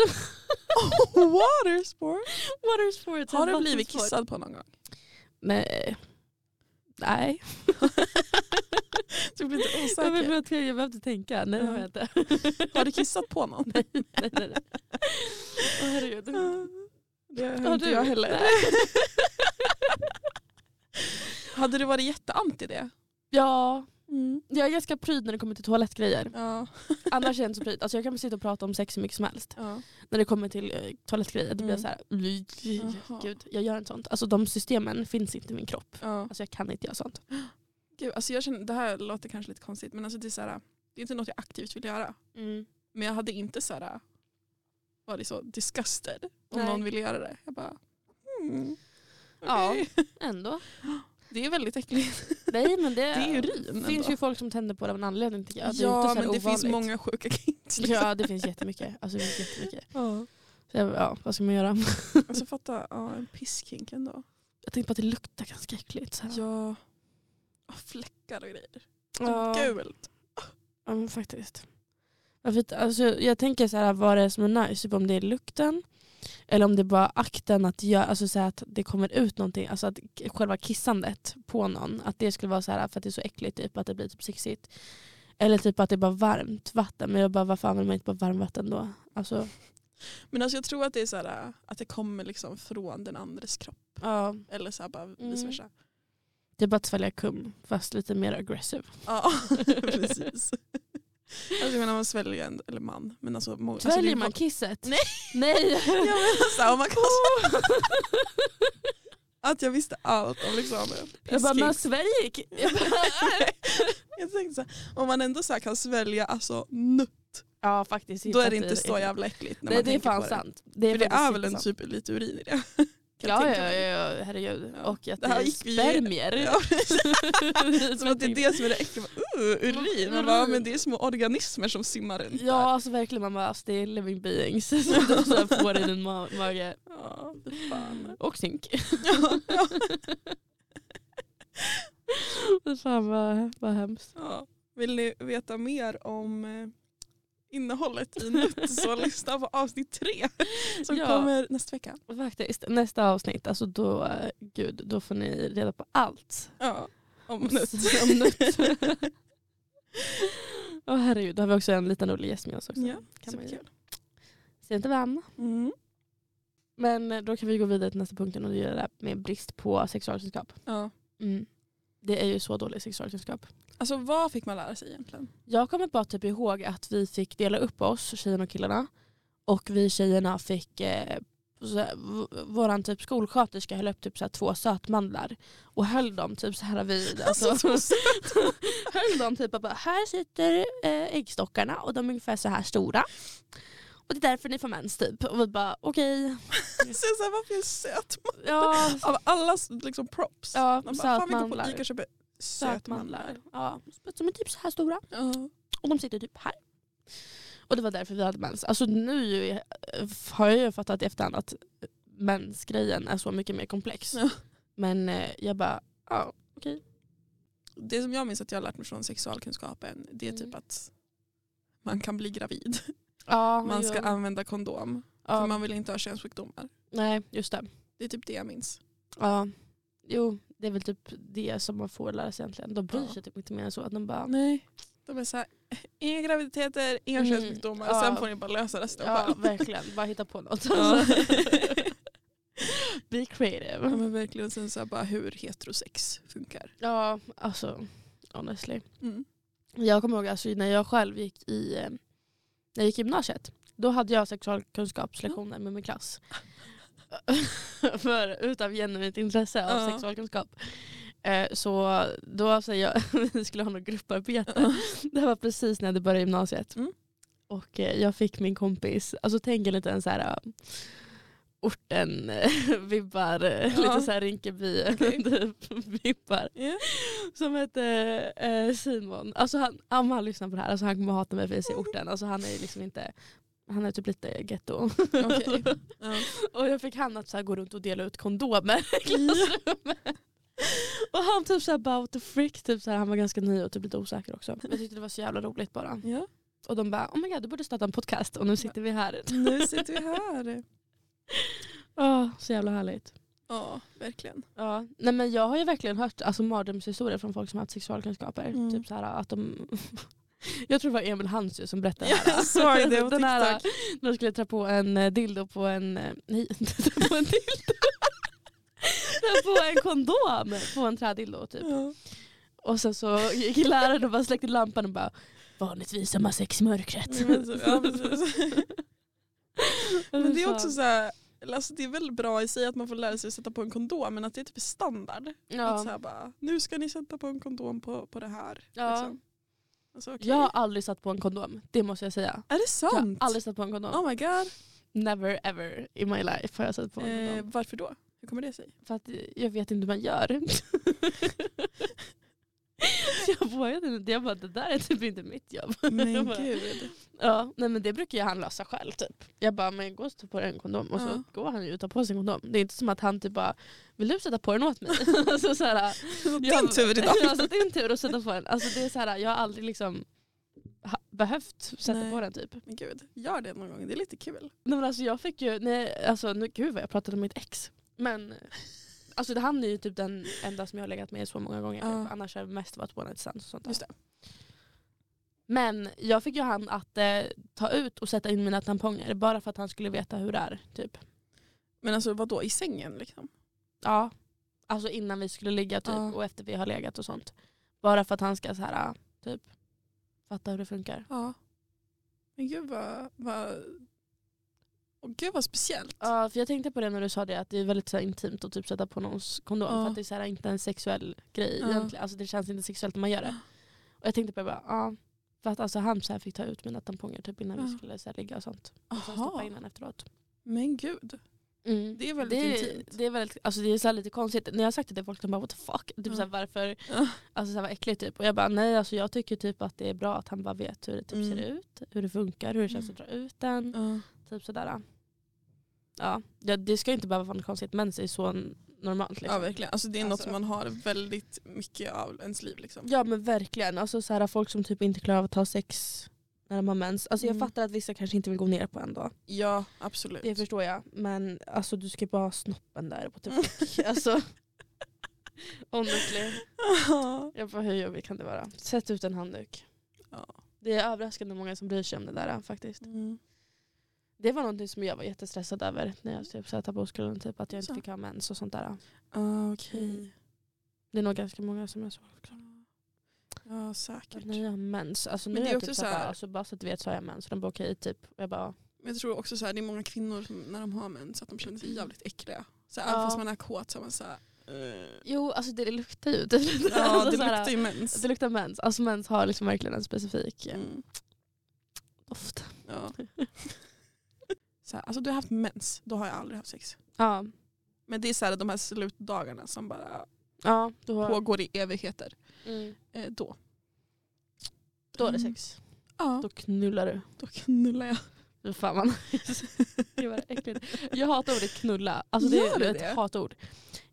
[SPEAKER 2] Watersport.
[SPEAKER 1] water sports
[SPEAKER 2] Oh, Har
[SPEAKER 1] en
[SPEAKER 2] du blivit
[SPEAKER 1] vattensport.
[SPEAKER 2] kissad på någon gång?
[SPEAKER 1] Nej. Nej.
[SPEAKER 2] Du blir lite
[SPEAKER 1] Jag,
[SPEAKER 2] osäker.
[SPEAKER 1] behövde, jag behövde tänka, nej det har jag inte.
[SPEAKER 2] Har du kissat på någon?
[SPEAKER 1] Nej, nej, nej. nej. Åh herregud.
[SPEAKER 2] Det har
[SPEAKER 1] Har
[SPEAKER 2] inte
[SPEAKER 1] du?
[SPEAKER 2] jag heller.
[SPEAKER 1] Nej.
[SPEAKER 2] Hade du varit jätteanti det?
[SPEAKER 1] Ja, jag är ganska pryd när det kommer till toalettgrejer.
[SPEAKER 2] Ja.
[SPEAKER 1] Annars är jag inte så pryd. Alltså jag kan sitta och prata om sex hur mycket som helst.
[SPEAKER 2] ja.
[SPEAKER 1] När det kommer till eh, toalettgrejer då blir jag
[SPEAKER 2] Mm.
[SPEAKER 1] så här, "Ly,
[SPEAKER 2] Jaha.
[SPEAKER 1] gud jag gör inte sånt. Alltså de systemen finns inte i min kropp.
[SPEAKER 2] ja.
[SPEAKER 1] Alltså jag kan inte göra sånt.
[SPEAKER 2] Gud, alltså jag känner, det här låter kanske lite konstigt men alltså det, är så här, det är inte något jag aktivt vill göra.
[SPEAKER 1] Mm.
[SPEAKER 2] Men jag hade inte så här, varit så disgusted om
[SPEAKER 1] Nej.
[SPEAKER 2] någon ville göra det. Jag bara, hmm,
[SPEAKER 1] Ja.
[SPEAKER 2] okej.
[SPEAKER 1] Ändå.
[SPEAKER 2] Det är väldigt äckligt.
[SPEAKER 1] Nej men det,
[SPEAKER 2] Det är urin
[SPEAKER 1] finns
[SPEAKER 2] ändå.
[SPEAKER 1] ju folk som tänder på det av en anledning tycker jag. Det är
[SPEAKER 2] ja,
[SPEAKER 1] inte så här
[SPEAKER 2] men det finns
[SPEAKER 1] ovanligt.
[SPEAKER 2] många sjuka kinks. liksom.
[SPEAKER 1] Ja det finns jättemycket. Alltså, det finns jättemycket.
[SPEAKER 2] Ja.
[SPEAKER 1] Så jag, ja, vad ska man göra?
[SPEAKER 2] Alltså fatta, ja, en pisskink ändå.
[SPEAKER 1] Jag tänkte på att det luktar ganska äckligt. Så här.
[SPEAKER 2] Ja. Och fläckar och grejer.
[SPEAKER 1] Ja.
[SPEAKER 2] Gult.
[SPEAKER 1] Ja men faktiskt. Varför, inte- alltså, jag tänker så här, vad det är som är nice, typ om det är lukten Eller om det bara akten att, göra, alltså så här att det kommer ut någonting, alltså att k- själva kissandet på någon, att det skulle vara så här för att det är så äckligt typ, att det blir typ sexigt. Eller typ att det är bara varmt vatten, men jag bara varför använder man inte bara varmvatten då? Alltså,
[SPEAKER 2] Men alltså jag tror att det är så här, att det kommer liksom från den andres kropp.
[SPEAKER 1] ja,
[SPEAKER 2] Eller så här bara vice
[SPEAKER 1] Mm.
[SPEAKER 2] versa.
[SPEAKER 1] det är bara att svälja kum, fast lite mer aggressiv.
[SPEAKER 2] Ja, precis. Alltså jag menar man sväljer en, eller man. Men alltså, mo- alltså, det är
[SPEAKER 1] Sväljer
[SPEAKER 2] ju-
[SPEAKER 1] man kisset?
[SPEAKER 2] Nej.
[SPEAKER 1] Nej.
[SPEAKER 2] Jag menar
[SPEAKER 1] "Oh
[SPEAKER 2] så här, om man kan att jag visste allt om liksom
[SPEAKER 1] jag bara, man
[SPEAKER 2] pisskiss.
[SPEAKER 1] sväljer ki- jag bara,
[SPEAKER 2] Jag tänkte så här, om man ändå så här kan svälja alltså nutt,
[SPEAKER 1] Ja faktiskt.
[SPEAKER 2] då är det inte
[SPEAKER 1] jätteäckligt.
[SPEAKER 2] så jävla äckligt. När
[SPEAKER 1] Nej
[SPEAKER 2] man
[SPEAKER 1] det Typ är
[SPEAKER 2] tänker
[SPEAKER 1] fan
[SPEAKER 2] på
[SPEAKER 1] sant. Det
[SPEAKER 2] För det
[SPEAKER 1] faktiskt
[SPEAKER 2] är väl en
[SPEAKER 1] sant.
[SPEAKER 2] typ lite urin i det. Kan jag
[SPEAKER 1] Ja,
[SPEAKER 2] tänka
[SPEAKER 1] ja,
[SPEAKER 2] mig.
[SPEAKER 1] ja, ja, herregud.
[SPEAKER 2] Ja.
[SPEAKER 1] Och att
[SPEAKER 2] Det
[SPEAKER 1] det,
[SPEAKER 2] här
[SPEAKER 1] är
[SPEAKER 2] gick vi-
[SPEAKER 1] spermier.
[SPEAKER 2] Ja,
[SPEAKER 1] Som
[SPEAKER 2] Som att det är det som är det äckliga. Uh, urin. Man bara,
[SPEAKER 1] typ. Urin.
[SPEAKER 2] men det är små organismer som simmar runt
[SPEAKER 1] Ja, alltså verkligen mamma. Alltså, det är living beings som du så här får i din ma- mage.
[SPEAKER 2] där. Ja, fy fan.
[SPEAKER 1] Och zink.
[SPEAKER 2] Ja, ja.
[SPEAKER 1] Fy Fan vad, vad hemskt.
[SPEAKER 2] Ja. Vill ni veta mer om eh, innehållet i nutt så lyssna på avsnitt tre som
[SPEAKER 1] Ja.
[SPEAKER 2] kommer nästa vecka.
[SPEAKER 1] Faktiskt, nästa avsnitt, alltså då, eh, gud, då får ni reda på allt.
[SPEAKER 2] Ja, om nutt.
[SPEAKER 1] Om nutt. Åh herregud, då har vi också en liten rolig gäst med oss också.
[SPEAKER 2] Ja,
[SPEAKER 1] kan man ju.
[SPEAKER 2] superkul.
[SPEAKER 1] Ser inte vem.
[SPEAKER 2] Mm.
[SPEAKER 1] Men eh, då kan vi gå vidare till nästa punkten och det är det här med brist på sexualkunskap. Mm.
[SPEAKER 2] Ja.
[SPEAKER 1] Det är ju så dålig sexualkunskap.
[SPEAKER 2] Alltså vad fick man lära sig egentligen?
[SPEAKER 1] Jag kommer bara typ ihåg att vi fick dela upp oss, tjejerna och killarna. Och vi tjejerna fick, eh, så här, v- våran typ skolsköterska höll upp typ så här två sötmandlar och höll dem typ så här vid. Alltså, höll dem typ och bara, här sitter eh, äggstockarna och de är ungefär så här stora. Och det är därför ni får mens typ. Och vi bara okej.
[SPEAKER 2] Så jag såhär, varför är jag söt?
[SPEAKER 1] Ja,
[SPEAKER 2] Av alla liksom, props.
[SPEAKER 1] Ja,
[SPEAKER 2] man bara, fan vi går på
[SPEAKER 1] sötmandlar.
[SPEAKER 2] Ica och köper sötmandlar.
[SPEAKER 1] sötmandlar. Ja, som är typ så här stora.
[SPEAKER 2] Ja.
[SPEAKER 1] Och de sitter typ här. Och det var därför vi hade mens. Alltså nu är- har jag ju fattat i efterhand att mensgrejen är så mycket mer komplex.
[SPEAKER 2] Ja.
[SPEAKER 1] Men eh, jag bara, ja okej.
[SPEAKER 2] Det som jag minns att jag har lärt mig från sexualkunskapen det är typ
[SPEAKER 1] Mm.
[SPEAKER 2] att man kan bli gravid.
[SPEAKER 1] Ja,
[SPEAKER 2] Man ska
[SPEAKER 1] jo.
[SPEAKER 2] använda kondom. För
[SPEAKER 1] ja.
[SPEAKER 2] man vill inte ha könssjukdomar.
[SPEAKER 1] Nej, just det.
[SPEAKER 2] Det är typ det jag minns.
[SPEAKER 1] Ja. Jo, det är väl typ det som man får lära sig egentligen. De bryr
[SPEAKER 2] Ja.
[SPEAKER 1] sig typ inte mer än så. Att de bara,
[SPEAKER 2] Nej. De är såhär, inga graviditeter, inga
[SPEAKER 1] Mm,
[SPEAKER 2] könssjukdomar.
[SPEAKER 1] ja.
[SPEAKER 2] Sen får ni bara lösa resten
[SPEAKER 1] ja
[SPEAKER 2] själv.
[SPEAKER 1] verkligen, bara hitta på något.
[SPEAKER 2] Ja.
[SPEAKER 1] Be creative.
[SPEAKER 2] ja men verkligen. Sen så här bara hur heterosex funkar.
[SPEAKER 1] Ja, alltså honestly.
[SPEAKER 2] Mm.
[SPEAKER 1] Jag kommer ihåg alltså, när jag själv gick i eh, när jag gick i gymnasiet. Då hade jag sexualkunskapslektioner med min klass. För utav genuint intresse av
[SPEAKER 2] Ja.
[SPEAKER 1] sexualkunskap. Eh, Så då sa jag vi skulle ha något grupparbete. Det här var precis när jag hade börjat gymnasiet.
[SPEAKER 2] Mm.
[SPEAKER 1] Och eh, jag fick min kompis, alltså tänk en liten så här eh, orten vibbar, eh,
[SPEAKER 2] Ja.
[SPEAKER 1] lite så här Rinkeby
[SPEAKER 2] Okej.
[SPEAKER 1] typ, vibbar
[SPEAKER 2] Ja.
[SPEAKER 1] som hette eh, Simon. Alltså han, om han lyssnar på det här, alltså han kommer hata mig för att jag säger orten. Alltså han är ju liksom inte, han är typ lite getto.
[SPEAKER 2] Okej. Ja.
[SPEAKER 1] Och jag fick han att så här gå runt och dela ut kondomer i klassrummet. Och han typ såhär bara what the frick, typ så här, han var ganska ny och typ lite osäker också. Jag tyckte det var så jävla roligt bara.
[SPEAKER 2] ja.
[SPEAKER 1] Och de bara oh my god du borde starta en podcast och nu sitter vi här.
[SPEAKER 2] Nu sitter vi här.
[SPEAKER 1] Ja, så jävla härligt.
[SPEAKER 2] Ja, verkligen.
[SPEAKER 1] Ja, nej men jag har ju verkligen hört alltså, mardrömshistorier från folk som har haft sexualkunskaper.
[SPEAKER 2] Mm.
[SPEAKER 1] Typ så här, att de... jag tror det var Emil Hansson som berättade det här.
[SPEAKER 2] Jag såg det på
[SPEAKER 1] Den här,
[SPEAKER 2] TikTok.
[SPEAKER 1] när de skulle trä på en eh, dildo på en... eh, Nej, inte trä på en dildo. Trä på en kondom på en trädildo typ.
[SPEAKER 2] Ja.
[SPEAKER 1] Och sen så gick läraren och bara släckte lampan och bara Vanligtvis har man sex i mörkret.
[SPEAKER 2] Ja, men så- ja, precis. Mm. Men det är
[SPEAKER 1] Så-
[SPEAKER 2] också så här, alltså det är väl bra i sig att man får lära sig att sätta på en kondom men att det är typ standard. Att så
[SPEAKER 1] Ja.
[SPEAKER 2] här bara, nu ska ni sätta på en kondom på, på det här.
[SPEAKER 1] Ja.
[SPEAKER 2] Liksom. Alltså, okej.
[SPEAKER 1] Jag har aldrig satt på en kondom, det måste jag säga.
[SPEAKER 2] Är det
[SPEAKER 1] Jag har
[SPEAKER 2] sant?
[SPEAKER 1] aldrig satt på en kondom.
[SPEAKER 2] Oh my god.
[SPEAKER 1] Never ever in my life har jag satt på en kondom.
[SPEAKER 2] Eh, varför då? Hur kommer det sig?
[SPEAKER 1] För att jag vet inte hur man gör. Så jag vågade inte. Jag bara, det där är typ inte mitt jobb. Jag bara,
[SPEAKER 2] gud.
[SPEAKER 1] Ja, nej men det brukar ju han lösa själv typ. Jag bara, men gå och sätta på dig en kondom. Och så
[SPEAKER 2] Ja.
[SPEAKER 1] går han ju och tar på sig en kondom. Det är inte som att han typ bara, vill du sätta på den åt mig? alltså, så här,
[SPEAKER 2] Din tur idag.
[SPEAKER 1] alltså din tur att sätta på den. Alltså det är så här, jag har aldrig liksom ha- behövt sätta
[SPEAKER 2] Nej.
[SPEAKER 1] på den typ.
[SPEAKER 2] Men gud, gör det någon gång. Det är lite kul.
[SPEAKER 1] Nej, men alltså jag fick ju, nej, alltså nu, gud vad jag pratade om mitt ex. Men alltså det, han är ju typ den enda som jag har legat med så många gånger.
[SPEAKER 2] Ja.
[SPEAKER 1] Typ. Annars har jag mest varit på night stands och sånt där.
[SPEAKER 2] Just det.
[SPEAKER 1] Men jag fick ju han att eh, ta ut och sätta in mina tamponger bara för att han skulle veta hur det är. Typ.
[SPEAKER 2] Men alltså vad då i sängen liksom?
[SPEAKER 1] Ja. Alltså innan vi skulle ligga typ
[SPEAKER 2] Ja.
[SPEAKER 1] och efter vi har legat och sånt. Bara för att han ska så här, typ fatta hur det funkar.
[SPEAKER 2] Ja. Men gud vad, vad, och gud vad speciellt.
[SPEAKER 1] Ja, för jag tänkte på det när du sa det att det är väldigt så här, intimt att typ sätta på någons kondom
[SPEAKER 2] Ja.
[SPEAKER 1] för att det är så här, inte en sexuell grej
[SPEAKER 2] Ja.
[SPEAKER 1] egentligen. Alltså det känns inte sexuellt när man gör det. Och jag tänkte på det bara, ja. För att alltså han så här fick ta ut mina tamponger typ innan vi
[SPEAKER 2] Ja.
[SPEAKER 1] skulle så här, ligga och sånt. Och sen stoppa in
[SPEAKER 2] Jaha,
[SPEAKER 1] den efteråt.
[SPEAKER 2] men gud.
[SPEAKER 1] Mm.
[SPEAKER 2] Det är väldigt
[SPEAKER 1] det,
[SPEAKER 2] intimt.
[SPEAKER 1] Det är, väldigt, alltså det är så här lite konstigt. När jag har sagt det till folk, de bara what the fuck. Typ
[SPEAKER 2] Ja.
[SPEAKER 1] så här, varför?
[SPEAKER 2] Ja.
[SPEAKER 1] Alltså så här, vad äckligt typ. Och jag bara nej, alltså jag tycker typ att det är bra att han bara vet hur det typ
[SPEAKER 2] Mm.
[SPEAKER 1] ser ut. Hur det funkar, hur det känns att dra ut den.
[SPEAKER 2] Ja.
[SPEAKER 1] Typ sådär. Ja, det, det ska ju inte behöva vara något konstigt. Mens är så n- normalt
[SPEAKER 2] ja
[SPEAKER 1] liksom.
[SPEAKER 2] verkligen. Alltså, det är något
[SPEAKER 1] Alltså.
[SPEAKER 2] som man har väldigt mycket av ens liv. Liksom.
[SPEAKER 1] Ja men verkligen. Alltså så här, folk som typ inte klarar av att ha sex när de har mens. Alltså jag
[SPEAKER 2] Mm.
[SPEAKER 1] fattar att vissa kanske inte vill gå ner på en dag.
[SPEAKER 2] Ja absolut.
[SPEAKER 1] Det förstår jag. Men alltså du ska bara ha snoppen där på typ. alltså. Honestly.
[SPEAKER 2] Ja.
[SPEAKER 1] Jag bara, hur jobbigt kan det vara? Sätt ut en handduk.
[SPEAKER 2] Ja.
[SPEAKER 1] Det är överraskande många som bryr sig om det där faktiskt. Det var någonting som jag var jättestressad över när jag typ, så här tappade oskulden. Typ, att jag inte
[SPEAKER 2] Så.
[SPEAKER 1] fick ha mens och sånt där.
[SPEAKER 2] Ah,
[SPEAKER 1] Mm.
[SPEAKER 2] Okej.
[SPEAKER 1] Det är nog ganska många som jag såg också.
[SPEAKER 2] Ja säkert.
[SPEAKER 1] Att när jag har mens, alltså nu
[SPEAKER 2] Men
[SPEAKER 1] är
[SPEAKER 2] det är
[SPEAKER 1] jag
[SPEAKER 2] också
[SPEAKER 1] typ så
[SPEAKER 2] så
[SPEAKER 1] här,
[SPEAKER 2] här-
[SPEAKER 1] alltså, bara så att du vet så har jag mens. Och de bara okej typ. Och jag bara,
[SPEAKER 2] Men jag tror också så här, det är många kvinnor som när de har mens att de känner sig jävligt äckliga. Så här,
[SPEAKER 1] Mm. Ja.
[SPEAKER 2] Även fast man är kåt så är man så här, eh.
[SPEAKER 1] jo alltså det luktar ju. typ lite.
[SPEAKER 2] Ja
[SPEAKER 1] Alltså,
[SPEAKER 2] det
[SPEAKER 1] så här,
[SPEAKER 2] luktar ju mens.
[SPEAKER 1] Det luktar mens. Alltså mens har liksom verkligen en specifik eh,
[SPEAKER 2] Mm.
[SPEAKER 1] doft.
[SPEAKER 2] Ja. Så här, alltså du har haft mens, då har jag aldrig haft sex.
[SPEAKER 1] Ja.
[SPEAKER 2] Men det är så här, de här slutdagarna som bara
[SPEAKER 1] Ja, då, har,
[SPEAKER 2] pågår i evigheter.
[SPEAKER 1] mm,
[SPEAKER 2] Eh, då.
[SPEAKER 1] då är det sex.
[SPEAKER 2] Ja,
[SPEAKER 1] Då knullar du.
[SPEAKER 2] då knullar jag.
[SPEAKER 1] Fy fan vad nice. Gud, vad äckligt. Jag hatar ordet knulla. Alltså det
[SPEAKER 2] Gör
[SPEAKER 1] är
[SPEAKER 2] du
[SPEAKER 1] ett
[SPEAKER 2] det?
[SPEAKER 1] hatord.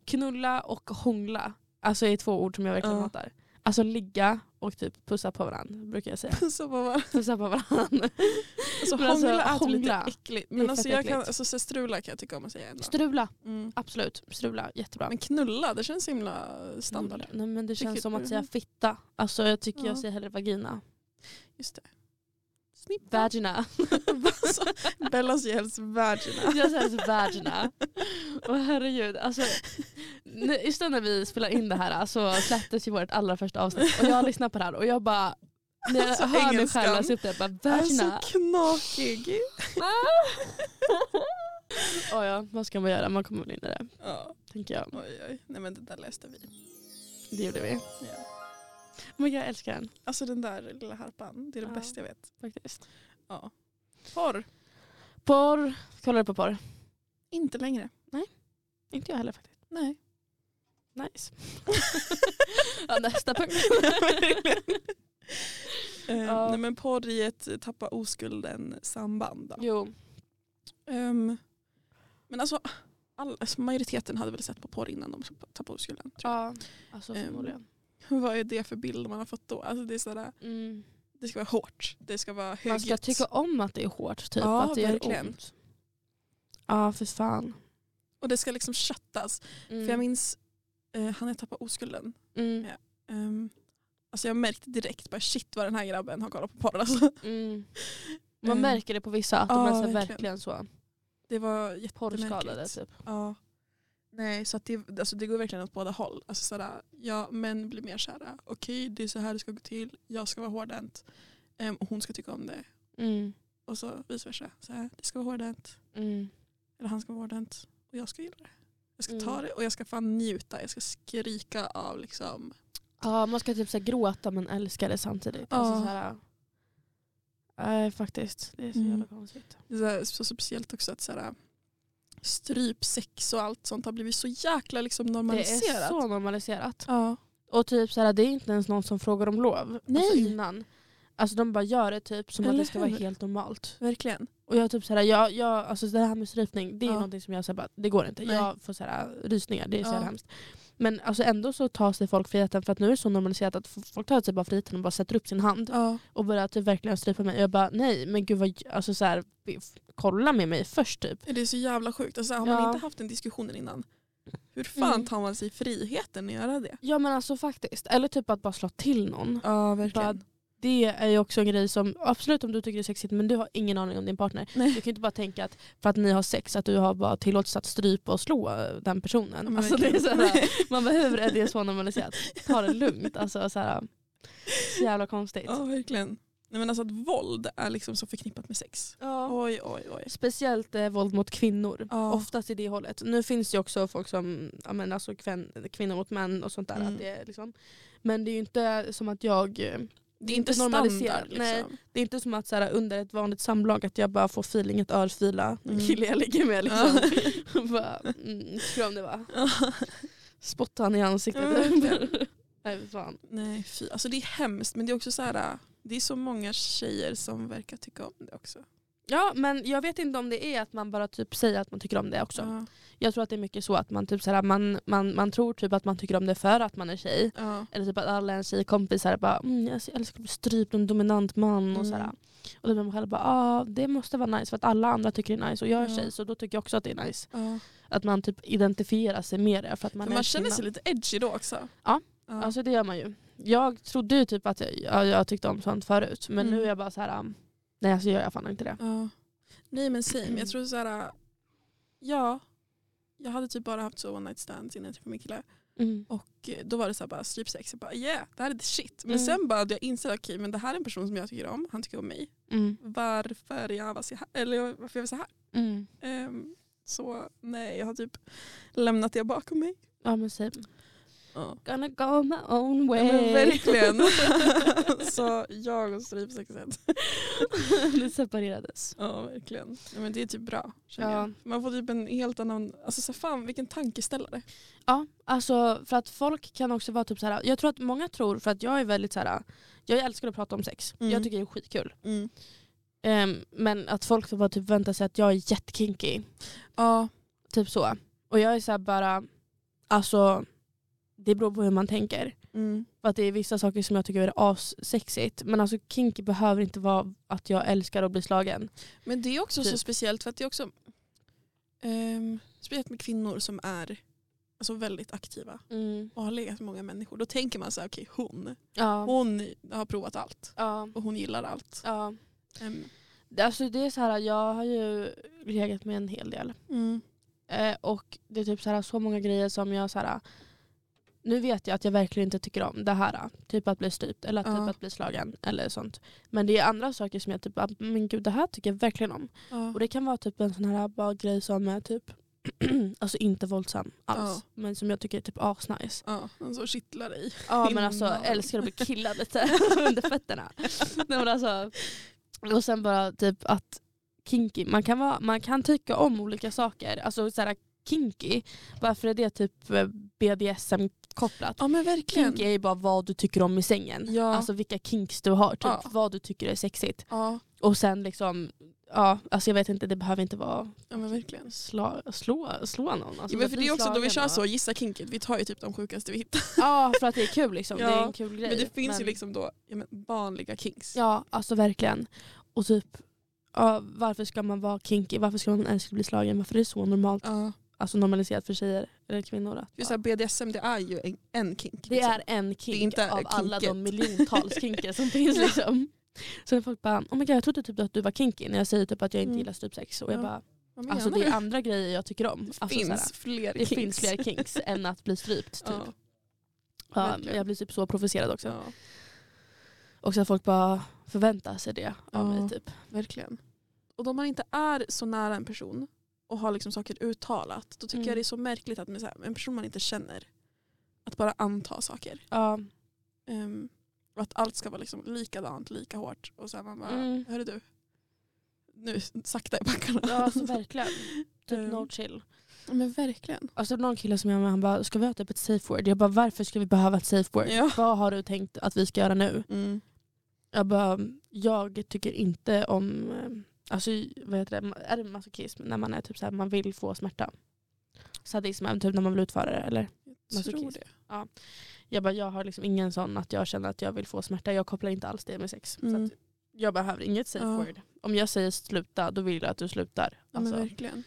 [SPEAKER 1] Knulla och hångla alltså är två ord som jag verkligen
[SPEAKER 2] Ja.
[SPEAKER 1] hatar. Alltså ligga och typ pussa på varandra brukar jag säga.
[SPEAKER 2] Så bara, bara-
[SPEAKER 1] Pussa på varandra.
[SPEAKER 2] alltså,
[SPEAKER 1] Men alltså,
[SPEAKER 2] hångla är typ
[SPEAKER 1] hångla,
[SPEAKER 2] lite äckligt.
[SPEAKER 1] det
[SPEAKER 2] Men
[SPEAKER 1] är
[SPEAKER 2] alltså,
[SPEAKER 1] fett
[SPEAKER 2] jag kan,
[SPEAKER 1] äckligt.
[SPEAKER 2] alltså, så här, strula kan jag tycka om att säga ändå.
[SPEAKER 1] Strula,
[SPEAKER 2] Mm.
[SPEAKER 1] absolut. Strula, jättebra.
[SPEAKER 2] Men knulla, det känns så himla standard.
[SPEAKER 1] Mm. Nej, men det känns
[SPEAKER 2] Vilket-
[SPEAKER 1] som att säga fitta. Alltså jag tycker
[SPEAKER 2] Ja.
[SPEAKER 1] jag säger hellre vagina.
[SPEAKER 2] Just det. Snippa.
[SPEAKER 1] Vagina.
[SPEAKER 2] Alltså, Bella säger helst vagina.
[SPEAKER 1] Jag säger alltså vagina. Och herregud, alltså, nu- just när vi spelar in det här så släpptes ju vårt allra första avsnitt och jag lyssnar på det här och jag bara, när jag
[SPEAKER 2] Alltså,
[SPEAKER 1] hör mig
[SPEAKER 2] engelskan.
[SPEAKER 1] själv läsa upp det, jag bara vagina.
[SPEAKER 2] Alltså knakig.
[SPEAKER 1] Ah. oh, ja, vad ska man göra? Man kommer väl in i det,
[SPEAKER 2] Ja,
[SPEAKER 1] tänker jag.
[SPEAKER 2] oj oj. Nej men det där läste vi.
[SPEAKER 1] Det gjorde vi.
[SPEAKER 2] Ja.
[SPEAKER 1] Men jag älskar den
[SPEAKER 2] Alltså den där lilla harpan, det är det
[SPEAKER 1] Ja.
[SPEAKER 2] bästa jag vet.
[SPEAKER 1] faktiskt.
[SPEAKER 2] Ja. Porr,
[SPEAKER 1] Porr, kollar du på porr?
[SPEAKER 2] inte längre.
[SPEAKER 1] Inte jag heller faktiskt.
[SPEAKER 2] Nej.
[SPEAKER 1] Nice. ja, nästa punkt.
[SPEAKER 2] Eh,
[SPEAKER 1] Ja.
[SPEAKER 2] Nej men porr i ett tappa oskulden samband. Då.
[SPEAKER 1] jo,
[SPEAKER 2] Ehm, men alltså, all, alltså majoriteten hade väl sett på porr innan de tappade oskulden. tror
[SPEAKER 1] ja. Alltså
[SPEAKER 2] Ehm.
[SPEAKER 1] förmodligen.
[SPEAKER 2] jag. Vad är det för bild man har fått då? Alltså det, är sådär,
[SPEAKER 1] Mm.
[SPEAKER 2] det ska vara hårt, det ska vara högljutt.
[SPEAKER 1] Man ska tycka om att det är hårt, typ.
[SPEAKER 2] Ja,
[SPEAKER 1] att det gör
[SPEAKER 2] verkligen.
[SPEAKER 1] ont. Ja, för fan.
[SPEAKER 2] Och det ska liksom chattas.
[SPEAKER 1] Mm.
[SPEAKER 2] För jag minns, eh, han jag tappade oskulden.
[SPEAKER 1] Mm.
[SPEAKER 2] Ja. Ehm, alltså jag märkte direkt bara shit vad den här grabben har kollat på porr. Alltså.
[SPEAKER 1] Mm. Man
[SPEAKER 2] Ehm.
[SPEAKER 1] märker det på vissa, att de
[SPEAKER 2] Ja,
[SPEAKER 1] är så här
[SPEAKER 2] verkligen.
[SPEAKER 1] verkligen så
[SPEAKER 2] Det var jättemärkligt.
[SPEAKER 1] porrskadade. Typ.
[SPEAKER 2] Ja. Nej, så att det, alltså det går verkligen åt båda håll. Alltså sådär, ja, män blir mer kära. Okej, det är så här det ska gå till. Jag ska vara hårdhänt. Ehm, och hon ska tycka om det.
[SPEAKER 1] Mm.
[SPEAKER 2] Och så vice versa. Så här, det ska vara hårdhänt.
[SPEAKER 1] Mm.
[SPEAKER 2] Eller han ska vara hårdhänt. Och jag ska gilla det. Jag ska ta
[SPEAKER 1] Mm.
[SPEAKER 2] det och jag ska fan njuta. Jag ska skrika av liksom.
[SPEAKER 1] Ja, man ska typ så här gråta men älska det samtidigt. Alltså
[SPEAKER 2] Ja.
[SPEAKER 1] så här, nej, faktiskt. Det är så
[SPEAKER 2] Mm.
[SPEAKER 1] jävla konstigt.
[SPEAKER 2] Det är så här så speciellt också att sådär, strypsex och allt sånt har blivit så jäkla liksom
[SPEAKER 1] Det
[SPEAKER 2] normaliserat.
[SPEAKER 1] är så normaliserat.
[SPEAKER 2] Ja.
[SPEAKER 1] Och typ så här, det är inte ens någon som frågar om lov. Alltså
[SPEAKER 2] Nej.
[SPEAKER 1] innan. Alltså de bara gör det typ som att
[SPEAKER 2] Eller
[SPEAKER 1] det ska vara
[SPEAKER 2] hur?
[SPEAKER 1] helt normalt.
[SPEAKER 2] Verkligen.
[SPEAKER 1] Och jag typ så här, jag, jag, alltså det här med strypning, det är
[SPEAKER 2] Ja.
[SPEAKER 1] någonting som jag säger bara, det går inte.
[SPEAKER 2] Nej.
[SPEAKER 1] Jag får så här, rysningar, det är så
[SPEAKER 2] Ja.
[SPEAKER 1] här hemskt. Men alltså ändå så tar sig folk friheten för att nu är det så normaliserat att f- folk tar sig bara friheten och bara sätter upp sin hand
[SPEAKER 2] Ja.
[SPEAKER 1] och börjar typ verkligen strypa mig. Jag bara nej men gud vad, alltså så här, be- f- kolla med mig först typ.
[SPEAKER 2] Det är så jävla sjukt. Alltså, har man
[SPEAKER 1] Ja.
[SPEAKER 2] inte haft den diskussionen innan, hur fan
[SPEAKER 1] Mm.
[SPEAKER 2] tar man sig friheten att göra det?
[SPEAKER 1] Ja men alltså faktiskt. Eller typ att bara slå till någon.
[SPEAKER 2] Ja,
[SPEAKER 1] verkligen. Det är ju också en grej som, absolut om du tycker det är sexigt men du har ingen aning om din partner.
[SPEAKER 2] Nej.
[SPEAKER 1] Du kan ju inte bara tänka att för att ni har sex att du har bara tillåtelse att strypa och slå eh, den personen.
[SPEAKER 2] Ja, men
[SPEAKER 1] alltså, det är så
[SPEAKER 2] verkligen.
[SPEAKER 1] här, man bara hur är det så normaliserat? Ta det lugnt. Alltså, så, här, så jävla konstigt.
[SPEAKER 2] Ja, verkligen. Nej, men alltså att våld är liksom så förknippat med sex.
[SPEAKER 1] Ja.
[SPEAKER 2] Oj, oj, oj.
[SPEAKER 1] Speciellt eh, våld mot kvinnor.
[SPEAKER 2] Ja.
[SPEAKER 1] Oftast i det hållet. Nu finns det ju också folk som, ja, men alltså kvän, kvinnor mot män och sånt där.
[SPEAKER 2] Mm.
[SPEAKER 1] Att det, är liksom, men det är ju inte som att jag, eh,
[SPEAKER 2] Det
[SPEAKER 1] inte normaliserat, nej. det är inte som att så här, under ett vanligt samlag att jag bara får feeling att örfila den
[SPEAKER 2] Mm.
[SPEAKER 1] kille jag ligger med. Liksom.
[SPEAKER 2] Ja.
[SPEAKER 1] bara, mm, kram det va.
[SPEAKER 2] Ja.
[SPEAKER 1] Spotta han i
[SPEAKER 2] Ja,
[SPEAKER 1] ansiktet.
[SPEAKER 2] verkligen.
[SPEAKER 1] Nej, fan.
[SPEAKER 2] nej, fy. Alltså det är hemskt men det är också så här, äh, det är så många tjejer som verkar tycka om det också.
[SPEAKER 1] Ja men jag vet inte om det är att man bara typ säger att man tycker om det också.
[SPEAKER 2] Ja.
[SPEAKER 1] Jag tror att det är mycket så att man, typ, så här, man, man, man tror typ att man tycker om det för att man är tjej.
[SPEAKER 2] Ja.
[SPEAKER 1] Eller typ att alla ens tjejkompisar bara mm, jag älskar att bli strypt av en dominant man. Och
[SPEAKER 2] Mm.
[SPEAKER 1] sådär. Och då blir man själv bara ah, det måste vara nice för att alla andra tycker det är nice och jag är
[SPEAKER 2] Ja.
[SPEAKER 1] tjej så då tycker jag också att det är nice.
[SPEAKER 2] Ja.
[SPEAKER 1] Att man typ identifierar sig med det för att man
[SPEAKER 2] Man,
[SPEAKER 1] är
[SPEAKER 2] man känner
[SPEAKER 1] kvinna.
[SPEAKER 2] sig lite edgy då också.
[SPEAKER 1] Ja.
[SPEAKER 2] ja.
[SPEAKER 1] Alltså det gör man ju. Jag trodde ju typ att jag, ja, jag tyckte om sånt förut men
[SPEAKER 2] Mm.
[SPEAKER 1] nu är jag bara så här. um, nej alltså gör jag fan inte det.
[SPEAKER 2] Ja. Nej men same. Jag tror så här, äh, ja. Jag hade typ bara haft så one night stands innan jag träffade min kille.
[SPEAKER 1] Mm.
[SPEAKER 2] Och eh, då var det så här bara strypsex. Jag bara yeah, det här är the shit. Men
[SPEAKER 1] Mm.
[SPEAKER 2] sen bara hade jag insett okej men det här är en person som jag tycker om. Han tycker om mig.
[SPEAKER 1] Mm.
[SPEAKER 2] Varför jag var så här? Eller varför jag var så här?
[SPEAKER 1] Mm.
[SPEAKER 2] Ehm, så nej, jag har typ lämnat det bakom mig.
[SPEAKER 1] Ja men säg
[SPEAKER 2] Ja.
[SPEAKER 1] gonna go my own way.
[SPEAKER 2] Men verkligen. så jag och strypsexet.
[SPEAKER 1] Vi separerades.
[SPEAKER 2] Ja, verkligen. Ja, men det är typ bra. känner
[SPEAKER 1] Ja.
[SPEAKER 2] jag. Man får typ en helt annan, alltså så här, fan vilken tankeställare.
[SPEAKER 1] Ja, alltså för att folk kan också vara typ så här. Jag tror att många tror, för att jag är väldigt så här. Jag älskar att prata om sex.
[SPEAKER 2] Mm.
[SPEAKER 1] Jag tycker det är skitkul. Ehm, men att folk bara typ väntar sig att jag är jättekinky.
[SPEAKER 2] Ja,
[SPEAKER 1] Typ så. Och jag är så här bara, alltså det beror på hur man tänker.
[SPEAKER 2] mm.
[SPEAKER 1] För att det är vissa saker som jag tycker är assexigt. Men alltså kinky behöver inte vara att jag älskar att bli slagen.
[SPEAKER 2] men det är också så
[SPEAKER 1] Typ.
[SPEAKER 2] speciellt för att det är också ehm, speciellt med kvinnor som är alltså, väldigt aktiva
[SPEAKER 1] Mm.
[SPEAKER 2] och har legat med många människor. Då tänker man så här, okej hon,
[SPEAKER 1] Ja.
[SPEAKER 2] hon har provat allt
[SPEAKER 1] Ja.
[SPEAKER 2] och hon gillar allt.
[SPEAKER 1] ja.
[SPEAKER 2] Ehm,
[SPEAKER 1] Alltså det är så här, jag har ju legat med en hel del. Eh, och det är typ så, här, så många grejer som jag så här, nu vet jag att jag verkligen inte tycker om det här. Typ att bli strypt eller
[SPEAKER 2] Ja.
[SPEAKER 1] typ att bli slagen eller sånt. Men det är andra saker som jag typ, ah, men gud det här tycker jag verkligen om.
[SPEAKER 2] Ja.
[SPEAKER 1] Och det kan vara typ en sån här bara grej som är typ, alltså inte våldsam alls.
[SPEAKER 2] Ja.
[SPEAKER 1] Men som jag tycker är typ asnice.
[SPEAKER 2] Ja, någon som kittlar dig.
[SPEAKER 1] Ja men alltså
[SPEAKER 2] Innan.
[SPEAKER 1] älskar att bli killad lite under fötterna. Nej, men alltså, och sen bara typ att kinky, man kan, vara, man kan tycka om olika saker. Alltså så här, kinky, varför är det typ eh, BDSM-kopplat?
[SPEAKER 2] Ja men verkligen.
[SPEAKER 1] Kinky är ju bara vad du tycker om i sängen.
[SPEAKER 2] Ja.
[SPEAKER 1] Alltså vilka kinks du har, typ
[SPEAKER 2] Ja.
[SPEAKER 1] vad du tycker är sexigt.
[SPEAKER 2] Ja,
[SPEAKER 1] Och sen liksom, ja alltså jag vet inte, det behöver inte vara
[SPEAKER 2] ja men verkligen.
[SPEAKER 1] slå, slå, slå någon. Alltså,
[SPEAKER 2] ja, men för
[SPEAKER 1] bli
[SPEAKER 2] det är också då vi
[SPEAKER 1] Alltså, slagen
[SPEAKER 2] kör
[SPEAKER 1] och-
[SPEAKER 2] så, gissa kinket, vi tar ju typ de sjukaste vi hittar.
[SPEAKER 1] Ja för att det är kul liksom, det är
[SPEAKER 2] Ja,
[SPEAKER 1] en kul grej.
[SPEAKER 2] Men det finns ju
[SPEAKER 1] Men-
[SPEAKER 2] liksom då ja, men vanliga kinks.
[SPEAKER 1] Ja, alltså verkligen. Och typ, ja, varför ska man vara kinky? Varför ska man ens bli slagen? Varför är det så normalt?
[SPEAKER 2] Ja.
[SPEAKER 1] Alltså normaliserat för tjejer eller kvinnor. Att,
[SPEAKER 2] Just ja. BDSM det är ju en, en kink.
[SPEAKER 1] det
[SPEAKER 2] liksom.
[SPEAKER 1] är en kink
[SPEAKER 2] Det är inte
[SPEAKER 1] av alla
[SPEAKER 2] kinket.
[SPEAKER 1] de miljontals kinker som finns.
[SPEAKER 2] Ja.
[SPEAKER 1] Liksom. Så när folk bara, oh my God, jag trodde typ att du var kinky när jag säger typ att jag inte
[SPEAKER 2] Mm.
[SPEAKER 1] gillar strypsex. Och jag
[SPEAKER 2] Ja.
[SPEAKER 1] bara,
[SPEAKER 2] Vad menar
[SPEAKER 1] alltså det
[SPEAKER 2] du?
[SPEAKER 1] är andra grejer jag tycker om.
[SPEAKER 2] Det
[SPEAKER 1] Alltså,
[SPEAKER 2] finns
[SPEAKER 1] såhär,
[SPEAKER 2] fler
[SPEAKER 1] det
[SPEAKER 2] kinks.
[SPEAKER 1] finns fler kinks än att bli strypt. Typ.
[SPEAKER 2] Ja,
[SPEAKER 1] Ja,
[SPEAKER 2] verkligen.
[SPEAKER 1] jag blir typ så provocerad också.
[SPEAKER 2] ja,
[SPEAKER 1] Och så att folk bara förväntar sig det av
[SPEAKER 2] Ja.
[SPEAKER 1] mig. Typ.
[SPEAKER 2] verkligen. Och om man inte är så nära en person och har liksom saker uttalat då tycker
[SPEAKER 1] Mm.
[SPEAKER 2] jag det är så märkligt att med så här, en person man inte känner att bara anta saker.
[SPEAKER 1] Ja.
[SPEAKER 2] Ehm, och att allt ska vara liksom likadant, lika hårt. Och sen man bara,
[SPEAKER 1] Mm.
[SPEAKER 2] hörru du. Nu sakta i backarna.
[SPEAKER 1] Ja, alltså verkligen.
[SPEAKER 2] Mm.
[SPEAKER 1] Typ no chill.
[SPEAKER 2] Men verkligen.
[SPEAKER 1] Alltså någon kille som jag var med han bara, ska vi ha typ ett safe word? Jag bara, varför ska vi behöva ett safe word?
[SPEAKER 2] Ja.
[SPEAKER 1] Vad har du tänkt att vi ska göra nu? Jag bara, jag tycker inte om, eh, alltså vad heter det, är det masochism när man är typ så här, man vill få smärta? Sadism, är typ när man vill utföra det eller?
[SPEAKER 2] tror
[SPEAKER 1] Masochist.
[SPEAKER 2] det.
[SPEAKER 1] Jag, bara, jag har liksom ingen sån att jag känner att jag vill få smärta. Jag kopplar inte alls det med sex. Så
[SPEAKER 2] Mm.
[SPEAKER 1] att jag behöver inget safe
[SPEAKER 2] Ja.
[SPEAKER 1] word. Om jag säger sluta då vill jag att du slutar.
[SPEAKER 2] Ja,
[SPEAKER 1] Alltså,
[SPEAKER 2] men verkligen.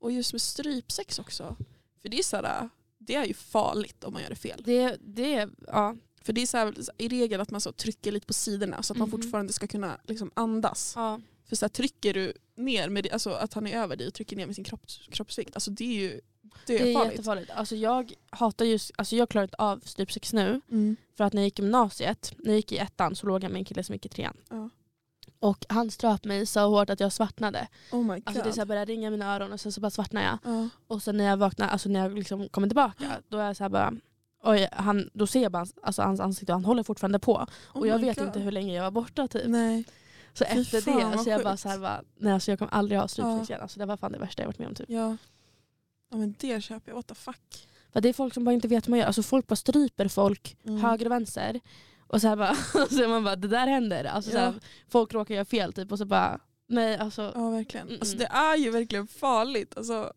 [SPEAKER 2] Och just med strypsex också. För det är, så här, det är ju farligt om man gör det fel.
[SPEAKER 1] det, det, ja,
[SPEAKER 2] För det är så här, i regel att man så trycker lite på sidorna så att man
[SPEAKER 1] Mhm.
[SPEAKER 2] fortfarande ska kunna liksom andas.
[SPEAKER 1] ja,
[SPEAKER 2] För så här, trycker du ner, med, alltså att han är över dig och trycker ner med sin kropps, kroppsvikt, alltså det är ju det är
[SPEAKER 1] det är
[SPEAKER 2] farligt.
[SPEAKER 1] jättefarligt. Alltså, jag hatar just, alltså, jag klarar inte av strypsex nu.
[SPEAKER 2] Mm.
[SPEAKER 1] För att när jag gick i gymnasiet, när jag gick i ettan så låg jag med en kille som gick i trean.
[SPEAKER 2] Ja.
[SPEAKER 1] Och han ströp mig så hårt att jag svartnade.
[SPEAKER 2] Oh my god.
[SPEAKER 1] Alltså det är så här, började ringa i mina öron och sen så bara svartnade jag.
[SPEAKER 2] ja.
[SPEAKER 1] Och sen när jag vaknar, alltså när jag liksom kommer tillbaka, då är jag så här bara Oj, han, då ser jag bara hans, alltså hans ansikte och han håller fortfarande på.
[SPEAKER 2] Oh
[SPEAKER 1] och jag
[SPEAKER 2] my
[SPEAKER 1] vet
[SPEAKER 2] God.
[SPEAKER 1] inte hur länge jag var borta typ.
[SPEAKER 2] Nej.
[SPEAKER 1] Så
[SPEAKER 2] Fy
[SPEAKER 1] efter
[SPEAKER 2] fan,
[SPEAKER 1] det
[SPEAKER 2] vad
[SPEAKER 1] så jag bara
[SPEAKER 2] sjukt.
[SPEAKER 1] så här bara, nej alltså jag kommer aldrig ha strypsex
[SPEAKER 2] Ja.
[SPEAKER 1] igen. Alltså det var fan det värsta jag varit med om typ.
[SPEAKER 2] Ja. ja men det köper jag, what the fuck.
[SPEAKER 1] För det är folk som bara inte vet hur man gör. Alltså folk bara stryper folk
[SPEAKER 2] Mm.
[SPEAKER 1] höger och vänster. Och så här bara, så är man bara det där händer. Alltså så
[SPEAKER 2] Ja.
[SPEAKER 1] här, folk råkar göra fel typ och så bara, nej alltså.
[SPEAKER 2] Ja verkligen.
[SPEAKER 1] Mm-mm.
[SPEAKER 2] Alltså det är ju verkligen farligt. Alltså,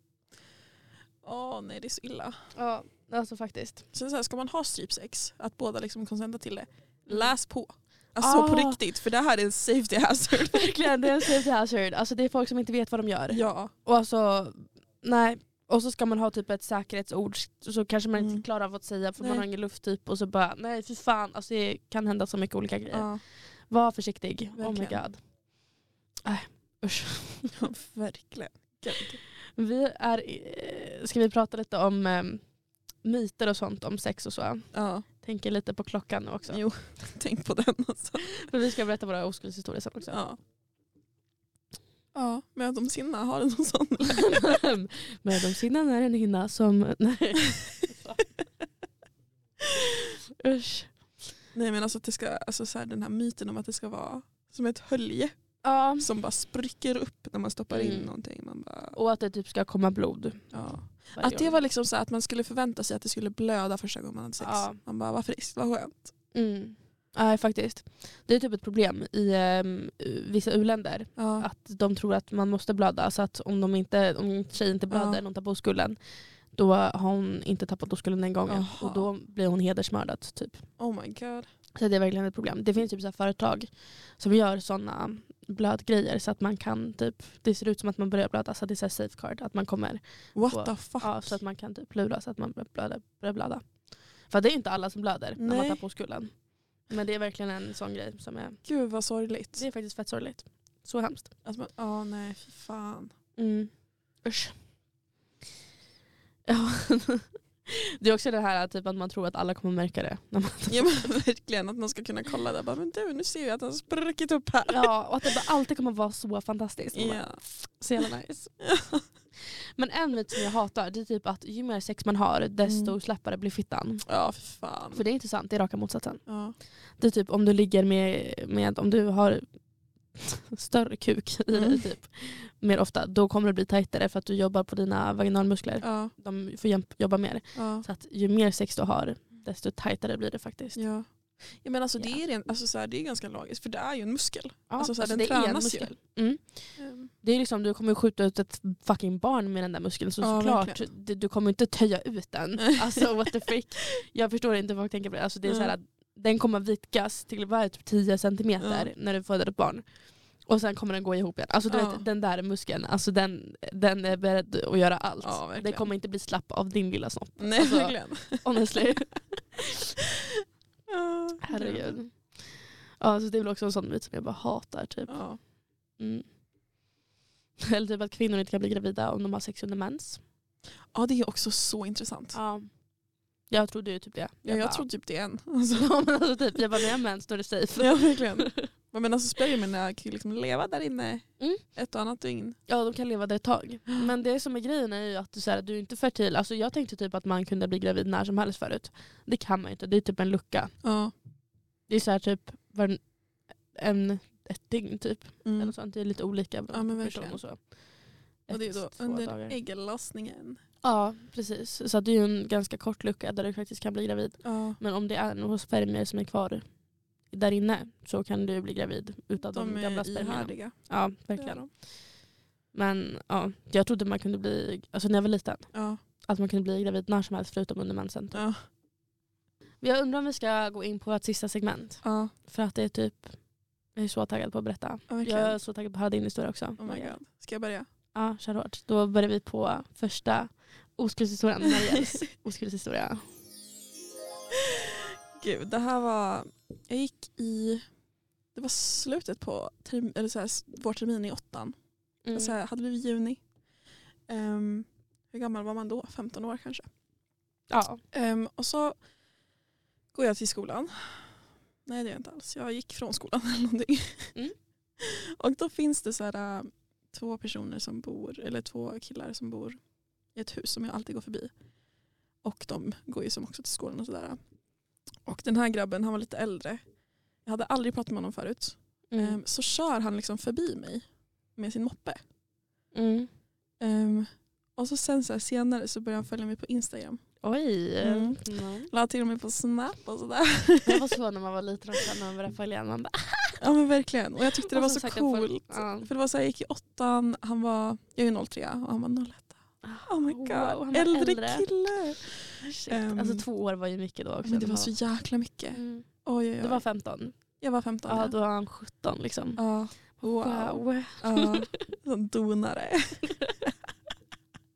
[SPEAKER 2] åh nej det är så illa.
[SPEAKER 1] Ja, alltså faktiskt.
[SPEAKER 2] Sen så här, ska man ha strypsex, att båda liksom konsenta till det, läs på. Alltså på
[SPEAKER 1] Mm. Ah.
[SPEAKER 2] riktigt, för det här är en safety hazard.
[SPEAKER 1] Verkligen, det är en safety hazard. Alltså det är folk som inte vet vad de gör.
[SPEAKER 2] Ja.
[SPEAKER 1] Och alltså, nej. Och så ska man ha typ ett säkerhetsord så kanske man
[SPEAKER 2] Mm.
[SPEAKER 1] inte klarar av att säga för
[SPEAKER 2] Nej.
[SPEAKER 1] man har ingen luft typ och så bara nej för fan alltså det kan hända så mycket olika grejer.
[SPEAKER 2] ja.
[SPEAKER 1] Var försiktig. Oh my
[SPEAKER 2] Verkligen.
[SPEAKER 1] god. Äh, usch.
[SPEAKER 2] verkligen. Gud.
[SPEAKER 1] Vi är, eh, ska vi prata lite om eh, myter och sånt om sex och så?
[SPEAKER 2] Ja.
[SPEAKER 1] Tänker lite på klockan nu också.
[SPEAKER 2] Jo, tänk på den alltså.
[SPEAKER 1] För vi ska berätta våra oskuldshistorier sen också.
[SPEAKER 2] Ja. Ja, men de sinna har en sån.
[SPEAKER 1] Men de sinnen är en hinna som... Nej. Usch.
[SPEAKER 2] Nej men alltså, att det ska, alltså så här, den här myten om att det ska vara som ett hölje
[SPEAKER 1] Ja.
[SPEAKER 2] som bara spricker upp när man stoppar in
[SPEAKER 1] Mm.
[SPEAKER 2] någonting. Man bara,
[SPEAKER 1] Och att det typ ska komma blod.
[SPEAKER 2] ja.
[SPEAKER 1] varje
[SPEAKER 2] Att det
[SPEAKER 1] gång.
[SPEAKER 2] var liksom så här att man skulle förvänta sig att det skulle blöda första gången man hade sex.
[SPEAKER 1] Ja.
[SPEAKER 2] Man bara, vad friskt, vad skönt.
[SPEAKER 1] Mm. Nej faktiskt. Det är typ ett problem i ehm, vissa uländer.
[SPEAKER 2] Ja.
[SPEAKER 1] Att de tror att man måste blöda. Så att om, de inte, om en tjej inte blöder
[SPEAKER 2] Ja.
[SPEAKER 1] när hon tappar oskulden. Då har hon inte tappat oskulden den gången.
[SPEAKER 2] Jaha.
[SPEAKER 1] Och då blir hon hedersmördad typ.
[SPEAKER 2] Oh my god.
[SPEAKER 1] Så det är verkligen ett problem. Det finns typ så här företag som gör sådana blödgrejer. Så att man kan typ, det ser ut som att man börjar blöda. Så att det är så här safeguard. Att man kommer
[SPEAKER 2] What
[SPEAKER 1] Så-
[SPEAKER 2] the fuck.
[SPEAKER 1] Ja, så att man kan typ lura så att man börjar blöda. Börjar blöda. För det är ju inte alla som blöder när man
[SPEAKER 2] Nej.
[SPEAKER 1] tappar oskulden. Men det är verkligen en sån grej som är,
[SPEAKER 2] Gud vad sorgligt.
[SPEAKER 1] det är faktiskt fett sorgligt. Så hemskt.
[SPEAKER 2] Att man, ja nej, fy fan.
[SPEAKER 1] Mm. Usch. Ja. Det är också det här typ att man tror att alla kommer märka det. När man
[SPEAKER 2] Ja men verkligen att man ska kunna kolla där. Bara, men du, nu ser jag att den har spruckit upp här.
[SPEAKER 1] Ja, och att det bara alltid kommer vara så fantastiskt. Man bara,
[SPEAKER 2] Ja.
[SPEAKER 1] Så jävla nice. Men en myt som jag hatar det är typ att ju mer sex man har desto
[SPEAKER 2] Mm.
[SPEAKER 1] slappare blir fittan.
[SPEAKER 2] Ja, fy fan.
[SPEAKER 1] För det är inte sant, det är raka motsatsen.
[SPEAKER 2] Ja.
[SPEAKER 1] Det är typ om du ligger med, med om du har större kuk i dig
[SPEAKER 2] Mm.
[SPEAKER 1] typ, mer ofta, då kommer det bli tajtare för att du jobbar på dina vaginalmuskler.
[SPEAKER 2] Ja,
[SPEAKER 1] De får jämp- jobba mer.
[SPEAKER 2] ja,
[SPEAKER 1] Så att ju mer sex du har, desto tajtare blir det faktiskt.
[SPEAKER 2] ja. ja men alltså, det,
[SPEAKER 1] Ja.
[SPEAKER 2] är rent, alltså så här, det är ganska logiskt för det är ju en muskel. Ehm.
[SPEAKER 1] Ja,
[SPEAKER 2] Alltså så här, den
[SPEAKER 1] det är en
[SPEAKER 2] tränas ju.
[SPEAKER 1] muskel. Mm. Det är liksom, du kommer skjuta ut ett fucking barn med den där muskeln så
[SPEAKER 2] Ja,
[SPEAKER 1] såklart,
[SPEAKER 2] verkligen.
[SPEAKER 1] du, du kommer inte töja ut den. Alltså what the frick. Jag förstår inte vad folk tänker på det. Alltså, det är så här,
[SPEAKER 2] Mm.
[SPEAKER 1] att den kommer vidgas till vad är det, typ 10 centimeter
[SPEAKER 2] Mm.
[SPEAKER 1] när du föder ett barn. Och sen kommer den gå ihop igen. Alltså du
[SPEAKER 2] Ja.
[SPEAKER 1] vet, den där muskeln, alltså, den, den är beredd att göra allt.
[SPEAKER 2] Ja, verkligen.
[SPEAKER 1] den kommer inte bli slapp av din lilla snopp.
[SPEAKER 2] Nej
[SPEAKER 1] Alltså,
[SPEAKER 2] verkligen.
[SPEAKER 1] Honestly.
[SPEAKER 2] Ja,
[SPEAKER 1] Herregud. Ja, så det är väl också en sån myt som jag bara hatar. Typ.
[SPEAKER 2] Ja.
[SPEAKER 1] Mm. Eller typ att kvinnor inte kan bli gravida om de har sex under mens.
[SPEAKER 2] ja det är också så intressant.
[SPEAKER 1] Ja. Jag trodde ju typ det.
[SPEAKER 2] Ja, jag
[SPEAKER 1] bara-
[SPEAKER 2] tror typ det är en. Alltså.
[SPEAKER 1] Ja, men alltså, typ, jag bara, när jag har mens då är det safe.
[SPEAKER 2] Ja verkligen. Men alltså, menar så spermierna kan ju liksom leva där inne
[SPEAKER 1] Mm.
[SPEAKER 2] ett och annat dygn.
[SPEAKER 1] Ja de kan leva där ett tag. Men det som är grejen är ju att du, så här, du är inte fertil. Alltså, jag tänkte typ att man kunde bli gravid när som helst förut. Det kan man ju inte, det är typ en lucka.
[SPEAKER 2] Ja.
[SPEAKER 1] Det är så här typ var en, ett dygn typ.
[SPEAKER 2] Mm.
[SPEAKER 1] Eller sånt. Det är lite olika
[SPEAKER 2] Ja, men
[SPEAKER 1] beroende på person
[SPEAKER 2] verkligen.
[SPEAKER 1] och så.
[SPEAKER 2] Och det är då
[SPEAKER 1] Ett, två
[SPEAKER 2] under
[SPEAKER 1] dagar.
[SPEAKER 2] ägglossningen.
[SPEAKER 1] Ja precis. Så att det är ju en ganska kort lucka där du faktiskt kan bli gravid.
[SPEAKER 2] Ja.
[SPEAKER 1] Men om det är några spermier som är kvar där inne så kan du bli gravid utav de,
[SPEAKER 2] De
[SPEAKER 1] gamla
[SPEAKER 2] är
[SPEAKER 1] spermierna.
[SPEAKER 2] ihärdiga.
[SPEAKER 1] Ja
[SPEAKER 2] Det är
[SPEAKER 1] verkligen.
[SPEAKER 2] de.
[SPEAKER 1] Men ja, jag trodde man kunde bli, alltså när jag var liten
[SPEAKER 2] Ja.
[SPEAKER 1] att man kunde bli gravid när som helst förutom under mensen. typ.
[SPEAKER 2] Ja.
[SPEAKER 1] Men Jag undrar om vi ska gå in på vårt sista segment.
[SPEAKER 2] Ja,
[SPEAKER 1] För att det är typ, jag är så taggad på att berätta.
[SPEAKER 2] ja, verkligen.
[SPEAKER 1] Jag är så taggad på att höra din historia också.
[SPEAKER 2] Oh my god. Ska jag börja?
[SPEAKER 1] Ja, kör hårt. Då börjar vi på första oskuldshistorien. Marias oskuldshistoria.
[SPEAKER 2] Gud, det här var... Jag gick i... Det var slutet på term, eller så här, s- vår termin i åttan.
[SPEAKER 1] Mm.
[SPEAKER 2] Så här, hade blivit juni. Ehm, hur gammal var man då? 15 år kanske.
[SPEAKER 1] Ja.
[SPEAKER 2] Ehm, och så går jag till skolan. Nej det gör jag inte alls. Jag gick från skolan eller någonting.
[SPEAKER 1] Mm.
[SPEAKER 2] och då finns det så här, äh, två personer som bor, eller två killar som bor i ett hus som jag alltid går förbi. Och de går ju som också till skolan och sådär. Och den här grabben han var lite äldre. Jag hade aldrig pratat med honom förut.
[SPEAKER 1] Mm.
[SPEAKER 2] Ehm, så kör han liksom förbi mig med sin moppe.
[SPEAKER 1] Mm.
[SPEAKER 2] Ehm, och så sen så här, senare så börjar han följa mig på Instagram.
[SPEAKER 1] Oj.
[SPEAKER 2] Mm.
[SPEAKER 1] Mm.
[SPEAKER 2] La till och med på Snap och sådär.
[SPEAKER 1] Det var så när man var liten också, när man började följa. Man bara,
[SPEAKER 2] Ja men verkligen. Och jag tyckte det
[SPEAKER 1] Och
[SPEAKER 2] var
[SPEAKER 1] som
[SPEAKER 2] så
[SPEAKER 1] sagt, jag får-
[SPEAKER 2] coolt.
[SPEAKER 1] ja.
[SPEAKER 2] För det var så här, jag gick i åttan, han var, jag är ju 03 och han var 01. Oh my
[SPEAKER 1] Wow,
[SPEAKER 2] god,
[SPEAKER 1] han var
[SPEAKER 2] äldre,
[SPEAKER 1] äldre.
[SPEAKER 2] kille.
[SPEAKER 1] shit.
[SPEAKER 2] Ehm.
[SPEAKER 1] Alltså två år var ju mycket då också.
[SPEAKER 2] Men det var så jäkla mycket.
[SPEAKER 1] Mm.
[SPEAKER 2] Oj, oj,
[SPEAKER 1] Du
[SPEAKER 2] oj.
[SPEAKER 1] var 15.
[SPEAKER 2] Jag var 15.
[SPEAKER 1] Ja, då var han 17 liksom.
[SPEAKER 2] ja. Wow.
[SPEAKER 1] Wow.
[SPEAKER 2] Ja, sån donare.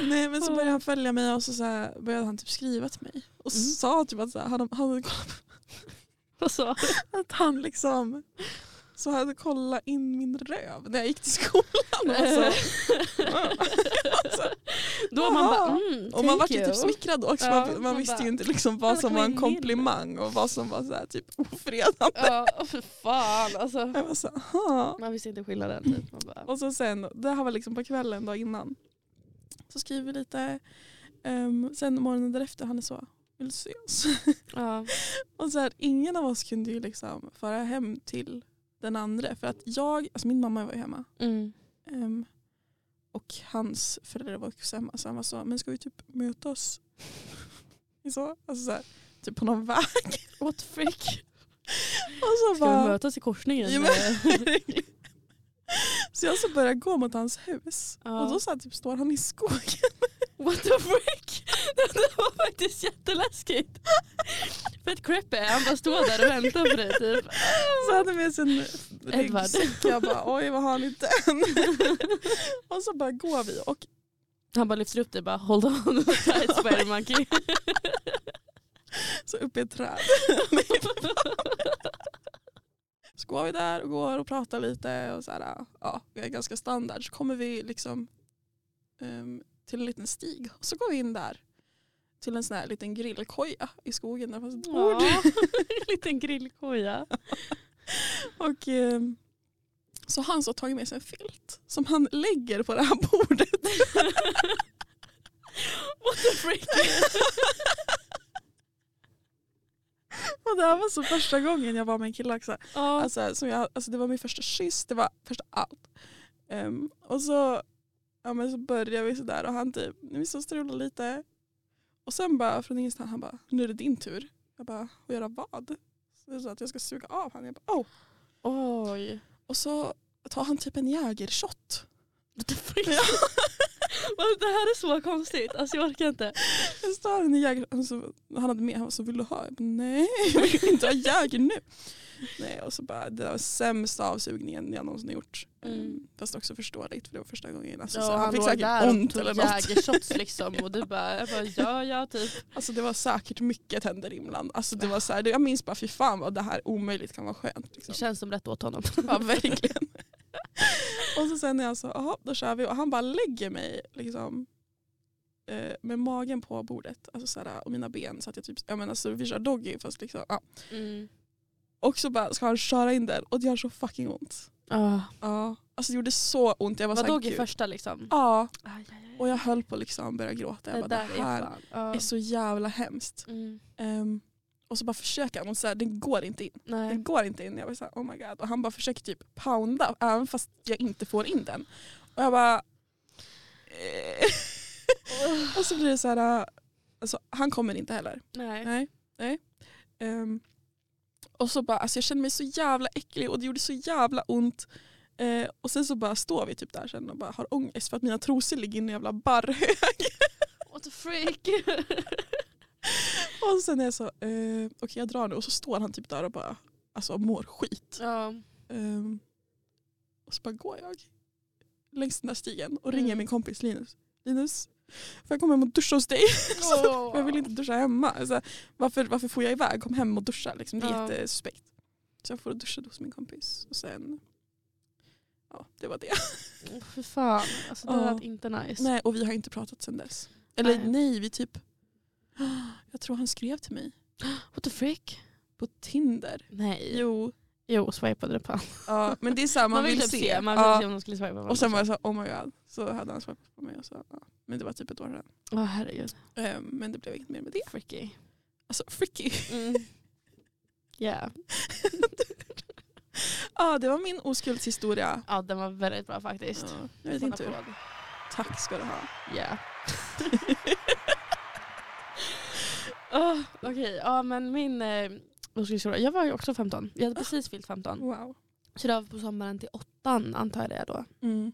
[SPEAKER 2] Nej men så började han följa mig och så, så här, började han typ skriva till mig. Och
[SPEAKER 1] Mm.
[SPEAKER 2] sa typ att så här, han, han,
[SPEAKER 1] Och så.
[SPEAKER 2] att han liksom så hade kollat in min röv när jag gick till skolan.
[SPEAKER 1] Eh,
[SPEAKER 2] alltså. Och så,
[SPEAKER 1] Då var man
[SPEAKER 2] Jaha.
[SPEAKER 1] bara, mm,
[SPEAKER 2] Och man
[SPEAKER 1] thank
[SPEAKER 2] var ju
[SPEAKER 1] you.
[SPEAKER 2] typ smickrad då också.
[SPEAKER 1] Ja,
[SPEAKER 2] man, man,
[SPEAKER 1] man
[SPEAKER 2] visste
[SPEAKER 1] bara,
[SPEAKER 2] ju inte liksom vad
[SPEAKER 1] "Välkommen
[SPEAKER 2] som var en
[SPEAKER 1] in."
[SPEAKER 2] komplimang och vad som var så här typ ofredande.
[SPEAKER 1] Ja, åh, för fan alltså.
[SPEAKER 2] Jag var så här, "Aha."
[SPEAKER 1] Man visste inte skillnaden. Typ. Man bara,
[SPEAKER 2] Mm. Och så sen, det här var liksom på kvällen då innan. Så skriver vi lite. Um, sen morgonen därefter, han är så, vill du ses?
[SPEAKER 1] ja.
[SPEAKER 2] Och så här, ingen av oss kunde ju liksom föra hem till den andra. För att jag, alltså min mamma var ju hemma.
[SPEAKER 1] Mm.
[SPEAKER 2] Ehm, och hans föräldrar var också hemma så han var så, men ska vi typ mötas? Så, alltså så här, typ på någon väg.
[SPEAKER 1] What the frick?
[SPEAKER 2] Och
[SPEAKER 1] Ska
[SPEAKER 2] så,
[SPEAKER 1] vi
[SPEAKER 2] bara,
[SPEAKER 1] mötas i korsningen?
[SPEAKER 2] Ja, men- så jag så började gå mot hans hus
[SPEAKER 1] Ja.
[SPEAKER 2] och då så här, typ, står han i skogen.
[SPEAKER 1] What the frick? Det var faktiskt jätteläskigt. Fett creepy. Han bara står där och väntar på dig. Typ.
[SPEAKER 2] Så hade med sin
[SPEAKER 1] Edvard.
[SPEAKER 2] ryggsäck. Jag bara oj vad har ni den? och så bara går vi och
[SPEAKER 1] Han bara lyfter upp dig och bara hold on tight spider monkey.
[SPEAKER 2] så upp i ett träd. Så går vi där och går och pratar lite och så här, ja, vi är ganska standard. Så kommer vi liksom ehm, till en liten stig och så går vi in där till en sån här liten grillkoja i skogen där det fanns ett bord.
[SPEAKER 1] Ja, en liten grillkoja.
[SPEAKER 2] Och, ehm, så har han så tagit med sig en filt som han lägger på det här bordet.
[SPEAKER 1] What the frick?
[SPEAKER 2] Och det här var så första gången jag var med en kille också.
[SPEAKER 1] Ja.
[SPEAKER 2] Alltså, som jag, alltså, det var min första kyss, det var första allt. Ehm, och så, ja, men så började vi sådär och han typ, vi så strulade lite. Och sen bara från ingenstans, han bara, nu är det din tur. Jag bara, och göra vad? Så det är så att jag ska suga av han. Jag bara, oh.
[SPEAKER 1] Oj.
[SPEAKER 2] Och så tar han typ en jägershot.
[SPEAKER 1] What the frick? Vad, Det här är så konstigt. Alltså jag orkar inte.
[SPEAKER 2] Jag står han en jäger, han, så, han hade med, han så vill du ha? Jag bara, nej, jag vill inte ha jäger nu. Nej, och så bara, det var sämsta avsugningen jag någonsin har gjort. Ehm,
[SPEAKER 1] Mm.
[SPEAKER 2] Fast också förståeligt för det var första gången. Alltså,
[SPEAKER 1] Ja,
[SPEAKER 2] så han, fick
[SPEAKER 1] låg
[SPEAKER 2] säkert
[SPEAKER 1] där och
[SPEAKER 2] ont
[SPEAKER 1] tog
[SPEAKER 2] eller något.
[SPEAKER 1] Jägershots liksom och du bara, jag bara ja ja typ.
[SPEAKER 2] Alltså det var säkert mycket tänder inbland. Alltså det var så här, det- jag minns bara fy fan vad det här omöjligt kan vara skönt.
[SPEAKER 1] Det
[SPEAKER 2] Liksom.
[SPEAKER 1] känns som rätt åt honom.
[SPEAKER 2] Ja, verkligen. och så sen när jag sa, jaha då kör vi och han bara lägger mig liksom eh, med magen på bordet alltså så här, och mina ben så att jag typ, jag menar så vi kör doggy fast liksom, ja.
[SPEAKER 1] Mm.
[SPEAKER 2] Och så bara ska han köra in den och det gör så fucking ont.
[SPEAKER 1] Ah.
[SPEAKER 2] Ja. Alltså det gjorde så ont. Jag var,
[SPEAKER 1] Vad
[SPEAKER 2] så här,
[SPEAKER 1] dog i
[SPEAKER 2] "Gud."
[SPEAKER 1] första liksom?
[SPEAKER 2] Ja,
[SPEAKER 1] Aj, aj, aj.
[SPEAKER 2] och jag höll på att liksom börja gråta. Jag
[SPEAKER 1] det
[SPEAKER 2] bara, det
[SPEAKER 1] där är
[SPEAKER 2] här
[SPEAKER 1] fan. Ja.
[SPEAKER 2] är så jävla hemskt.
[SPEAKER 1] Mm.
[SPEAKER 2] Ehm, och så bara försöker han och så här, det går inte in. Det
[SPEAKER 1] Nej.
[SPEAKER 2] går inte in. Jag var så här, oh my god. Och han bara försöker typ pounda även fast jag inte får in den. Och jag bara... eh. och så blir det så här, äh, alltså, han kommer inte heller.
[SPEAKER 1] Nej.
[SPEAKER 2] Nej. nej. Ehm, och så bara, alltså jag kände mig så jävla äcklig och det gjorde så jävla ont. Eh, och sen så bara står vi typ där sen och bara har ångest för att mina trosor ligger i en jävla barrhög.
[SPEAKER 1] what the freak.
[SPEAKER 2] Och sen är jag så, eh, okej jag drar nu. Och så står han typ där och bara alltså, mår skit.
[SPEAKER 1] ja.
[SPEAKER 2] Ehm, och så bara går jag längs den där stigen och
[SPEAKER 1] Mm.
[SPEAKER 2] ringer min kompis Linus. Linus, får jag komma hem och duscha hos dig?
[SPEAKER 1] Åh.
[SPEAKER 2] Jag vill inte duscha hemma. Alltså, varför, varför får jag iväg? Kom hem och duscha. Liksom. Det är
[SPEAKER 1] Ja.
[SPEAKER 2] jättesuspekt. Så jag får duscha hos min kompis. Och sen, ja det var det.
[SPEAKER 1] Åh, Fy fan, alltså, det
[SPEAKER 2] Ja.
[SPEAKER 1] lät inte nice.
[SPEAKER 2] Nej, och vi har inte pratat sen dess. Eller
[SPEAKER 1] Nej.
[SPEAKER 2] nej, vi typ... Jag tror han skrev till mig
[SPEAKER 1] What the freak?
[SPEAKER 2] på Tinder.
[SPEAKER 1] Nej. Jo,
[SPEAKER 2] Jo,
[SPEAKER 1] swipade det på honom.
[SPEAKER 2] ja, men det är så här, man, vill,
[SPEAKER 1] typ
[SPEAKER 2] se.
[SPEAKER 1] se. Man vill
[SPEAKER 2] ja.
[SPEAKER 1] se om de skulle swipa på
[SPEAKER 2] Och sen
[SPEAKER 1] honom.
[SPEAKER 2] var jag så här, oh my god. Så hade han svarat på mig. Och så, ja. Men det var typ ett år sedan.
[SPEAKER 1] Åh herregud.
[SPEAKER 2] Eh, Men det blev inget mer med det.
[SPEAKER 1] Freaky.
[SPEAKER 2] Alltså freaky.
[SPEAKER 1] Mm. Yeah.
[SPEAKER 2] Ja, det var min oskuldshistoria.
[SPEAKER 1] Ja den var väldigt bra faktiskt.
[SPEAKER 2] Ja, jag vet
[SPEAKER 1] Fan,
[SPEAKER 2] inte hur.
[SPEAKER 1] applåd.
[SPEAKER 2] Tack ska du ha.
[SPEAKER 1] Yeah. oh, Okej, ja men min eh, oskuldshistoria. Jag var ju också 15. Jag hade precis fyllt 15.
[SPEAKER 2] Wow.
[SPEAKER 1] Så det var på sommaren till åttan antar jag då.
[SPEAKER 2] Mm.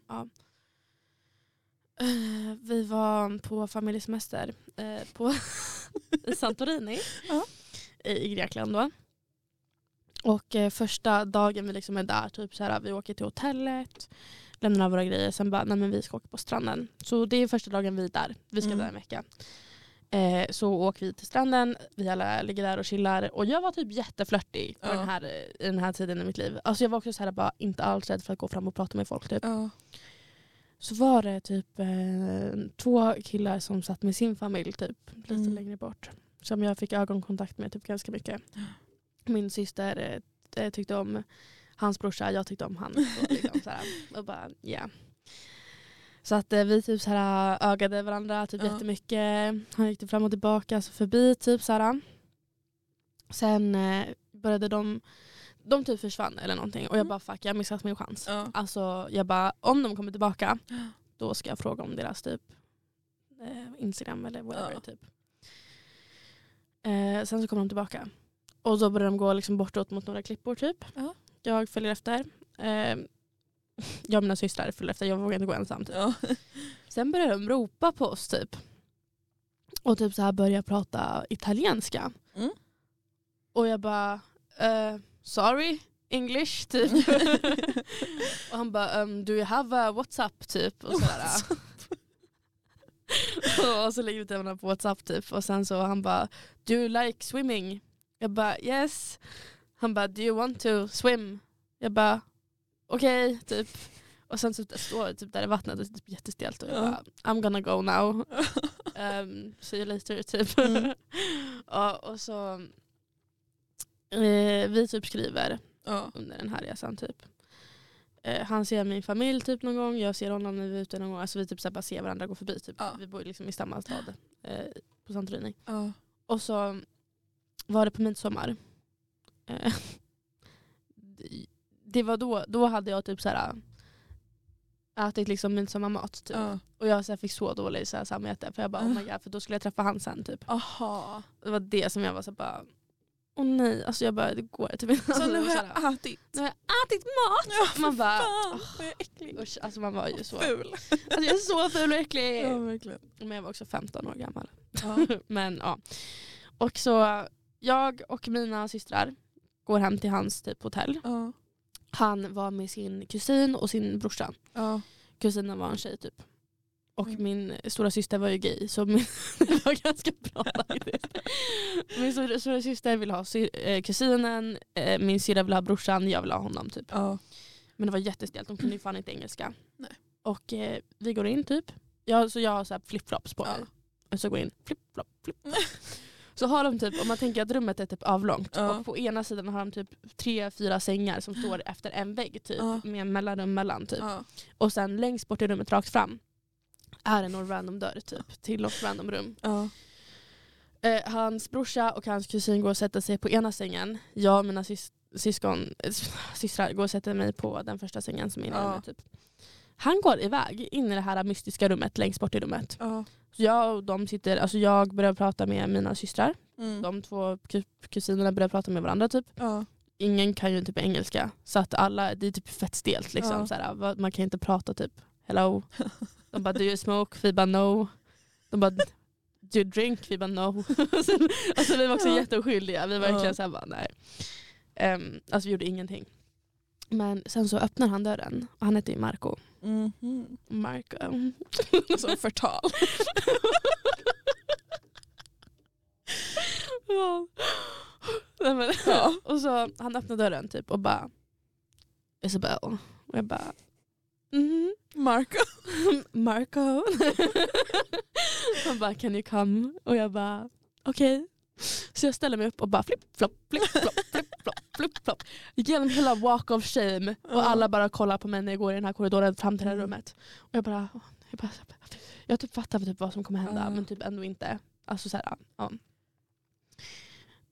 [SPEAKER 1] Eh, Vi var på familjesemester eh, på i Santorini
[SPEAKER 2] Ja.
[SPEAKER 1] i, i Grekland. Då. Och eh, första dagen vi liksom är där, typ så här, vi åker till hotellet, lämnar av våra grejer, sen bara, nej men vi ska åka på stranden. Så det är första dagen vi är där, vi ska
[SPEAKER 2] Mm.
[SPEAKER 1] vara en vecka. Eh, så åker vi till stranden, vi alla ligger där och chillar och jag var typ jätteflörtig på
[SPEAKER 2] Ja.
[SPEAKER 1] den här, i den här tiden i mitt liv. Alltså jag var också så här, bara, inte alls rädd för att gå fram och prata med folk. Typ
[SPEAKER 2] Ja.
[SPEAKER 1] så var det typ eh, två killar som satt med sin familj typ lite
[SPEAKER 2] Mm.
[SPEAKER 1] längre bort. Som jag fick ögonkontakt med typ ganska mycket. Min syster eh, t- eh, tyckte om hans brorsa, jag tyckte om han. Och, liksom, såhär, och bara, yeah. Så att eh, vi typ såhär, ögade varandra typ
[SPEAKER 2] Ja.
[SPEAKER 1] jättemycket. Han gick typ fram och tillbaka, alltså förbi typ såhär. Sen eh, började de, de typ försvann eller någonting och jag
[SPEAKER 2] Mm.
[SPEAKER 1] bara fuck jag har missat min chans.
[SPEAKER 2] Ja.
[SPEAKER 1] Alltså jag bara, om de kommer tillbaka då ska jag fråga om deras typ eh, Instagram eller whatever.
[SPEAKER 2] Ja.
[SPEAKER 1] Typ. Eh, sen så kommer de tillbaka. Och då börjar de gå liksom bortåt mot några klippor typ.
[SPEAKER 2] Ja.
[SPEAKER 1] Jag följer efter. Eh, jag och mina systrar följer efter, jag vågar inte gå ensam. Typ.
[SPEAKER 2] Ja.
[SPEAKER 1] Sen börjar de ropa på oss typ. Och typ så här börjar prata italienska.
[SPEAKER 2] Mm.
[SPEAKER 1] Och jag bara, eh, sorry, English typ. och han bara, um, do you have a WhatsApp typ? Och, sådär. och så lägger vi ut henne på WhatsApp typ. Och sen så han bara, do you like swimming? Jag bara, yes. Han bara, do you want to swim? Jag bara, okej typ. Och sen så står jag typ där i vattnet och det är typ jättestelt och jag
[SPEAKER 2] Ja.
[SPEAKER 1] bara, I'm gonna go now. Um, see you later typ.
[SPEAKER 2] Mm.
[SPEAKER 1] ja, och så eh, vi typ skriver
[SPEAKER 2] ja.
[SPEAKER 1] under den här resan typ. Eh, han ser min familj typ någon gång, jag ser honom när vi är ute någon gång. Alltså vi typ så här bara ser varandra gå förbi typ.
[SPEAKER 2] Ja.
[SPEAKER 1] Vi bor liksom i samma stad eh, på Santorini.
[SPEAKER 2] ja.
[SPEAKER 1] Och så var det på midsommar. Eh, det var då, då hade jag typ så här ätit liksom midsommarmat typ.
[SPEAKER 2] ja.
[SPEAKER 1] Och jag så här fick så dålig så här samvete för jag bara oh
[SPEAKER 2] Ah.
[SPEAKER 1] my god för då skulle jag träffa han sen typ.
[SPEAKER 2] Aha.
[SPEAKER 1] Det var det som jag var så här bara åh nej alltså jag bara det går typ inte.
[SPEAKER 2] Alltså, Så nu har
[SPEAKER 1] här,
[SPEAKER 2] jag ätit.
[SPEAKER 1] nu har jag ätit mat!
[SPEAKER 2] Ja, för
[SPEAKER 1] Man bara,
[SPEAKER 2] fan vad jag är äcklig.
[SPEAKER 1] Usch, alltså man var ju så, alltså
[SPEAKER 2] Ful.
[SPEAKER 1] jag är så ful och äcklig.
[SPEAKER 2] Ja, verkligen.
[SPEAKER 1] Men jag var också 15 år gammal.
[SPEAKER 2] Ja.
[SPEAKER 1] Men ja. Och så jag och mina systrar går hem till hans typ hotell.
[SPEAKER 2] Ja.
[SPEAKER 1] Han var med sin kusin och sin brorsa.
[SPEAKER 2] Ja.
[SPEAKER 1] Kusinen var en tjej typ. Och
[SPEAKER 2] Mm.
[SPEAKER 1] min stora syster var ju gay så min, det var ganska bra faktiskt. Min stora, stora syster ville ha sy- eh, kusinen, eh, min syrra ville ha brorsan, jag ville ha honom typ.
[SPEAKER 2] Ja.
[SPEAKER 1] Men det var jättestelt, de kunde ju fan inte engelska.
[SPEAKER 2] Nej.
[SPEAKER 1] Och eh, vi går in typ. Jag, så jag har så här flipflops på
[SPEAKER 2] Ja.
[SPEAKER 1] mig. Och så går jag in, flip-flop, flip Så har de typ, om man tänker att rummet är typ avlångt
[SPEAKER 2] Ja.
[SPEAKER 1] och på ena sidan har de typ tre, fyra sängar som står efter en vägg typ
[SPEAKER 2] Ja.
[SPEAKER 1] med mellanrum mellan typ.
[SPEAKER 2] Ja.
[SPEAKER 1] Och sen längst bort i rummet rakt fram är det någon random dörr typ till något random rum.
[SPEAKER 2] Ja.
[SPEAKER 1] Eh, hans brorsa och hans kusin går och sätter sig på ena sängen. Jag och mina sys- syskon, eh, systrar går och sätter mig på den första sängen som är inne i
[SPEAKER 2] Ja.
[SPEAKER 1] rummet. Typ. Han går iväg in i det här mystiska rummet längst bort i rummet.
[SPEAKER 2] Ja.
[SPEAKER 1] Så jag, och de sitter, alltså jag börjar prata med mina systrar.
[SPEAKER 2] Mm.
[SPEAKER 1] De två ku- kusinerna börjar prata med varandra. typ.
[SPEAKER 2] Ja.
[SPEAKER 1] Ingen kan ju typ engelska. Så att alla, det är typ fett stelt. Liksom,
[SPEAKER 2] Ja.
[SPEAKER 1] Såhär, vad- man kan inte prata typ hello. De bara do you smoke? Vi bara no. De bara do you drink? Vi bara no. Sen- alltså, vi var också
[SPEAKER 2] Ja.
[SPEAKER 1] jätteoskyldiga. Vi var
[SPEAKER 2] Ja.
[SPEAKER 1] verkligen så här bara nej. Ehm, alltså vi gjorde ingenting. Men sen så öppnar han dörren och han heter ju Marco.
[SPEAKER 2] Mhm.
[SPEAKER 1] Marco.
[SPEAKER 2] Som Alltså, förtal.
[SPEAKER 1] Ja. Nej, men,
[SPEAKER 2] Ja.
[SPEAKER 1] Och så han öppnar dörren typ och bara Isabel. Och jag bara mhm.
[SPEAKER 2] Marco.
[SPEAKER 1] Marco. Han bara can you come? Och jag bara okej. Så jag ställer mig upp och bara flipp flopp, flipp flopp, flipp flopp, flipp flopp. Genom hela walk of shame.
[SPEAKER 2] Ja.
[SPEAKER 1] Och alla bara kollar på mig när jag går i den här korridoren fram till det här
[SPEAKER 2] Mm.
[SPEAKER 1] rummet. Och jag bara, jag bara jag typ fattar typ vad som kommer hända
[SPEAKER 2] Ja.
[SPEAKER 1] men typ ändå inte. Alltså så här, ja.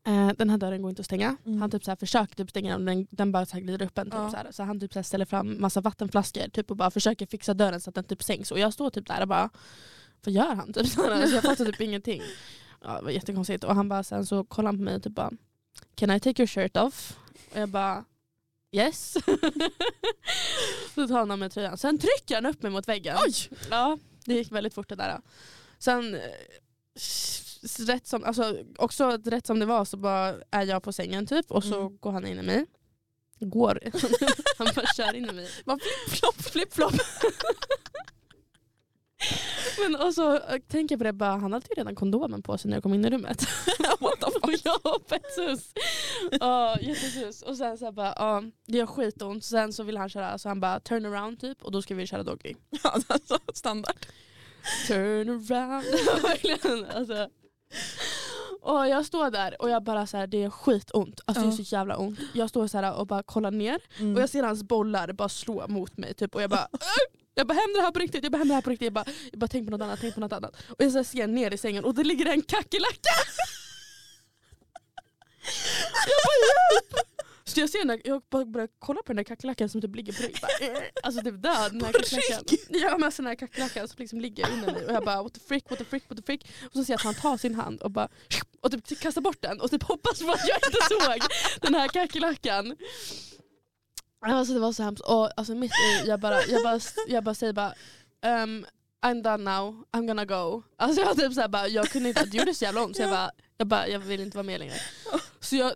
[SPEAKER 1] Eh, Den här dörren går inte att stänga.
[SPEAKER 2] Mm.
[SPEAKER 1] Han typ så här försöker typ stänga den men den bara så här glider upp en. Typ
[SPEAKER 2] Ja.
[SPEAKER 1] så, här. så han typ så här ställer fram massa vattenflaskor typ och bara försöker fixa dörren så att den typ sänks. Och jag står typ där och bara, vad gör han? Typ, så här. Så jag fattar typ ingenting. Ja, det var jättekonstigt. Och han bara, sen så kollar han på mig och typ bara, can I take your shirt off? Och jag bara, yes. så tar han av mig tröjan. Sen trycker han upp mig mot väggen.
[SPEAKER 2] Oj!
[SPEAKER 1] Ja, det gick väldigt fort det där. Sen, eh, s- rätt som, alltså, också rätt som det var så bara är jag på sängen typ och så
[SPEAKER 2] Mm.
[SPEAKER 1] går han in i mig. Går. han bara kör in i mig.
[SPEAKER 2] Man flipp, flopp, flipp, flopp.
[SPEAKER 1] Men och så eh, tänker jag på det bara, han hade ju redan kondomen på sig när jag kom in i rummet.
[SPEAKER 2] What the
[SPEAKER 1] Och
[SPEAKER 2] fuck.
[SPEAKER 1] jag har petsus. Ja, jättesus. Och sen så här bara, ja det gör skitont. Sen så vill han köra, så han bara turn around typ och då ska vi köra doggy.
[SPEAKER 2] Ja, alltså, standard.
[SPEAKER 1] Turn around. Verkligen, alltså. Och jag står där och jag bara så här, det är skitont. Alltså det är
[SPEAKER 2] Ja.
[SPEAKER 1] så jävla ont. Jag står så här och bara kollar ner
[SPEAKER 2] Mm.
[SPEAKER 1] och jag ser hans bollar bara slå mot mig typ och jag bara "Aj!" Jag bara händer det här på riktigt? Jag bara händer det här på riktigt? Jag bara, jag bara tänk på något annat, tänk på något annat. Och jag så här ser ner i sängen och det ligger en kackerlacka! Jag bara hjälp! Så jag ser den där, jag bara börjar kolla på den där kackerlackan som typ ligger på rygg. Bara, "Eh." Alltså typ död den här
[SPEAKER 2] På
[SPEAKER 1] kackerlackan. Ja men alltså den här kackerlackan som liksom ligger under mig och jag bara what the frick, what the frick, what the frick. Och så ser jag att han tar sin hand och bara och typ kastar bort den och typ hoppas på att jag inte såg den här kackerlackan. Alltså det var så hemskt. Och, alltså, mitt i, jag, bara, jag, bara, jag bara säger bara um, I'm done now, I'm gonna go. Alltså jag typ så här bara, jag kunde inte, det gjorde så jävla ont så jag bara, jag bara, jag vill inte vara med längre. Så jag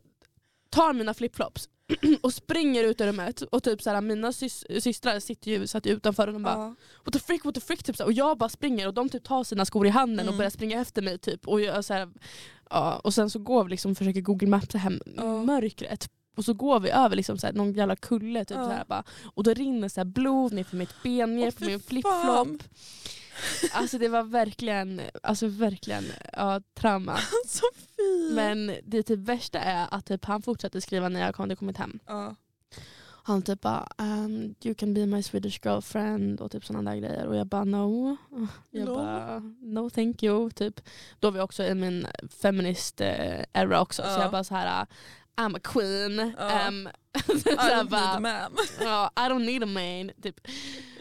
[SPEAKER 1] tar mina flipflops och springer ut ur rummet och typ så här, mina sys, systrar sitter ju satt utanför och de bara
[SPEAKER 2] Ja.
[SPEAKER 1] what the frick, what the frick. Typ så här. och jag bara springer och de typ tar sina skor i handen
[SPEAKER 2] Mm.
[SPEAKER 1] och börjar springa efter mig. typ Och, jag, så här, ja, och sen så går vi liksom, försöker google maps hem
[SPEAKER 2] Ja.
[SPEAKER 1] mörkret. Och så går vi över liksom så här, någon jävla kulle typ
[SPEAKER 2] Ja.
[SPEAKER 1] så här, bara, och då rinner så här blod ner för mitt ben, ner
[SPEAKER 2] Åh,
[SPEAKER 1] för
[SPEAKER 2] fy
[SPEAKER 1] min
[SPEAKER 2] fan.
[SPEAKER 1] flipflop. Alltså det var verkligen, alltså verkligen ja, trauma.
[SPEAKER 2] Så fin.
[SPEAKER 1] Men det typ värsta är att typ, han fortsatte skriva när jag hade kommit hem.
[SPEAKER 2] Ja.
[SPEAKER 1] Han typ bara um, “you can be my Swedish girlfriend” och typ sådana där grejer. Och jag bara “no”. Jag
[SPEAKER 2] No.
[SPEAKER 1] bara “no thank you” typ. Då var jag också i min feminist eh, era också. Så
[SPEAKER 2] Ja.
[SPEAKER 1] jag bara så här “I'm a queen”.
[SPEAKER 2] Ja.
[SPEAKER 1] Um,
[SPEAKER 2] I
[SPEAKER 1] så
[SPEAKER 2] don't
[SPEAKER 1] jag
[SPEAKER 2] need a
[SPEAKER 1] bara,
[SPEAKER 2] man.
[SPEAKER 1] ja, “I don't need a man”. Typ.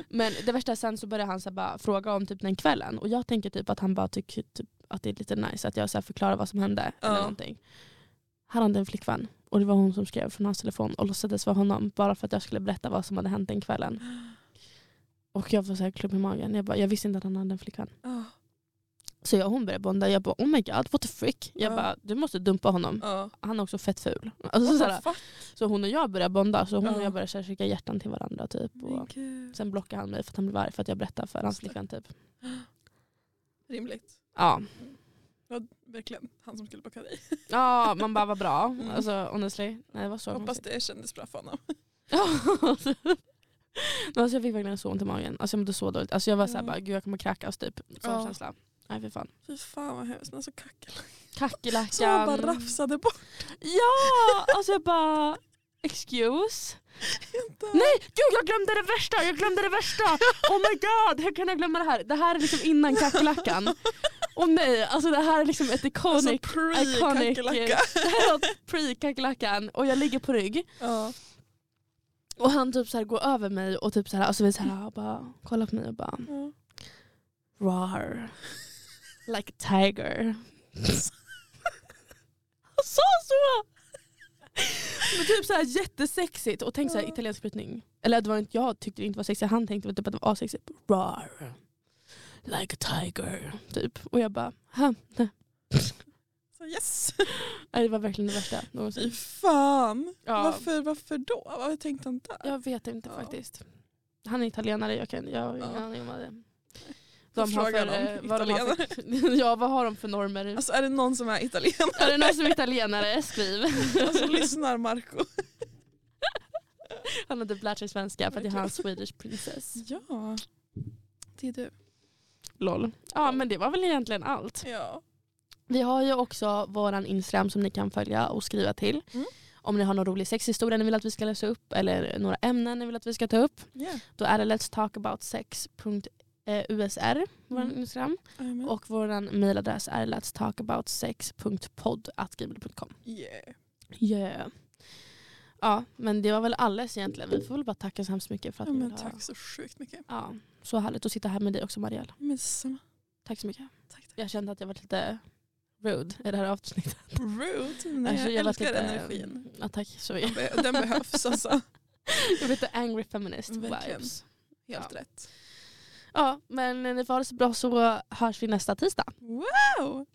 [SPEAKER 1] Men det värsta är sen så började han så här bara fråga om typ den kvällen. Och jag tänker typ att han bara tycker typ att det är lite nice att jag så här förklarar vad som hände.
[SPEAKER 2] Ja.
[SPEAKER 1] Eller någonting. Han hade en flickvän och det var hon som skrev från hans telefon och låtsades vara honom bara för att jag skulle berätta vad som hade hänt den kvällen. Och jag var så här klump i magen. Jag, bara, jag visste inte att han hade en flickvän.
[SPEAKER 2] Ja.
[SPEAKER 1] Så jag och hon började bonda. Jag bara oh my god what the frick. Jag
[SPEAKER 2] Ja.
[SPEAKER 1] bara du måste dumpa honom.
[SPEAKER 2] Ja.
[SPEAKER 1] Han är också fett ful. Alltså, så,
[SPEAKER 2] What
[SPEAKER 1] här,
[SPEAKER 2] the fuck?
[SPEAKER 1] så hon och jag började bonda. Så hon
[SPEAKER 2] Ja.
[SPEAKER 1] och jag började så här skicka hjärtan till varandra. Typ,
[SPEAKER 2] Men
[SPEAKER 1] och
[SPEAKER 2] gud.
[SPEAKER 1] sen blockade han mig för att han blev arg för att jag berättade för hans flickvän. Typ.
[SPEAKER 2] Rimligt.
[SPEAKER 1] Ja.
[SPEAKER 2] Det var verkligen han som skulle bocka dig.
[SPEAKER 1] ja, man bara vad bra.
[SPEAKER 2] Mm.
[SPEAKER 1] Alltså honestly. Nej, det var så
[SPEAKER 2] Hoppas det kändes bra för honom.
[SPEAKER 1] Ja, alltså. alltså jag fick verkligen så ont i magen. Alltså jag mådde så dåligt. Alltså jag var såhär,
[SPEAKER 2] Ja.
[SPEAKER 1] bara, gud jag kommer kräkas typ. Sån
[SPEAKER 2] Ja.
[SPEAKER 1] känsla. Nej fy fan.
[SPEAKER 2] Fy fan vad hemskt. Men så kackerlackan. Som han
[SPEAKER 1] Kackerlackan.
[SPEAKER 2] bara rafsade bort.
[SPEAKER 1] Ja! Alltså jag bara, excuse?
[SPEAKER 2] Inte.
[SPEAKER 1] Nej, gud jag glömde det värsta! Jag glömde det värsta! Oh my god, hur kan jag glömma det här? Det här är liksom innan kackerlackan. Åh nej, alltså det här är liksom ett iconic,
[SPEAKER 2] Alltså pre-kackerlacka.
[SPEAKER 1] det här var pre-kackerlackan och jag ligger på rygg.
[SPEAKER 2] Ja.
[SPEAKER 1] Och han typ så här går över mig och typ så här, alltså vi så här, bara, kollar på mig och bara
[SPEAKER 2] Ja.
[SPEAKER 1] Rar. Like a tiger. Han sa så! Men typ så här jättesexigt. Och tänk så här,
[SPEAKER 2] Ja.
[SPEAKER 1] italiensk brytning. Eller det var inte, jag tyckte det inte var sexigt. Han tänkte väl typ att det var sexigt. Rar. Like a tiger. Typ. Och jag bara, Ha, nej.
[SPEAKER 2] Så yes!
[SPEAKER 1] Nej, Det var verkligen det värsta någonsin.
[SPEAKER 2] Fy fan!
[SPEAKER 1] Ja.
[SPEAKER 2] Varför, varför då? Varför tänkte han där?
[SPEAKER 1] Jag vet inte
[SPEAKER 2] Ja.
[SPEAKER 1] faktiskt. Han är italienare, jag, kan, jag har ingen
[SPEAKER 2] Ja.
[SPEAKER 1] aning om vad det
[SPEAKER 2] Får
[SPEAKER 1] de har
[SPEAKER 2] fråga
[SPEAKER 1] för,
[SPEAKER 2] dem,
[SPEAKER 1] eh, vad de har för, Ja, vad har de för normer?
[SPEAKER 2] Alltså är det någon som är italienare?
[SPEAKER 1] är det någon som är italienare? Skriv.
[SPEAKER 2] Alltså lyssnar Marco.
[SPEAKER 1] Han har typ lärt sig svenska för att jag har en Swedish princess.
[SPEAKER 2] Ja. Det är du.
[SPEAKER 1] Lol. Ja, men det var väl egentligen allt.
[SPEAKER 2] Ja.
[SPEAKER 1] Vi har ju också våran Instagram som ni kan följa och skriva till.
[SPEAKER 2] Mm.
[SPEAKER 1] Om ni har någon rolig sexhistoria ni vill att vi ska läsa upp eller några ämnen ni vill att vi ska ta upp. Då är det eh, letstalkaboutsex.usr, vår
[SPEAKER 2] Mm.
[SPEAKER 1] Instagram.
[SPEAKER 2] Jajamän.
[SPEAKER 1] Och vår mailadress är letstalkaboutsex.podd.gmail.com.
[SPEAKER 2] Yeah.
[SPEAKER 1] Yeah. Ja, men det var väl alles egentligen. Vi får väl bara tacka så hemskt mycket för att
[SPEAKER 2] Ja,
[SPEAKER 1] ni
[SPEAKER 2] men
[SPEAKER 1] vill ha-
[SPEAKER 2] tack så sjukt mycket.
[SPEAKER 1] Ja, så härligt att sitta här med dig också Marielle.
[SPEAKER 2] Men samma.
[SPEAKER 1] Tack så mycket.
[SPEAKER 2] Tack, tack.
[SPEAKER 1] Jag kände att jag var lite rude i det här avsnittet.
[SPEAKER 2] Rude. Nej,
[SPEAKER 1] Alltså,
[SPEAKER 2] jag,
[SPEAKER 1] har varit
[SPEAKER 2] älskar
[SPEAKER 1] lite-
[SPEAKER 2] energin.
[SPEAKER 1] Ja, tack så
[SPEAKER 2] Den
[SPEAKER 1] mycket.
[SPEAKER 2] be- Den behövs alltså.
[SPEAKER 1] Jag vet inte, angry feminist
[SPEAKER 2] Verkligen.
[SPEAKER 1] vibes.
[SPEAKER 2] Helt
[SPEAKER 1] Ja.
[SPEAKER 2] rätt.
[SPEAKER 1] Ja, men ni får ha det så bra så hörs vi nästa tisdag.
[SPEAKER 2] Wow!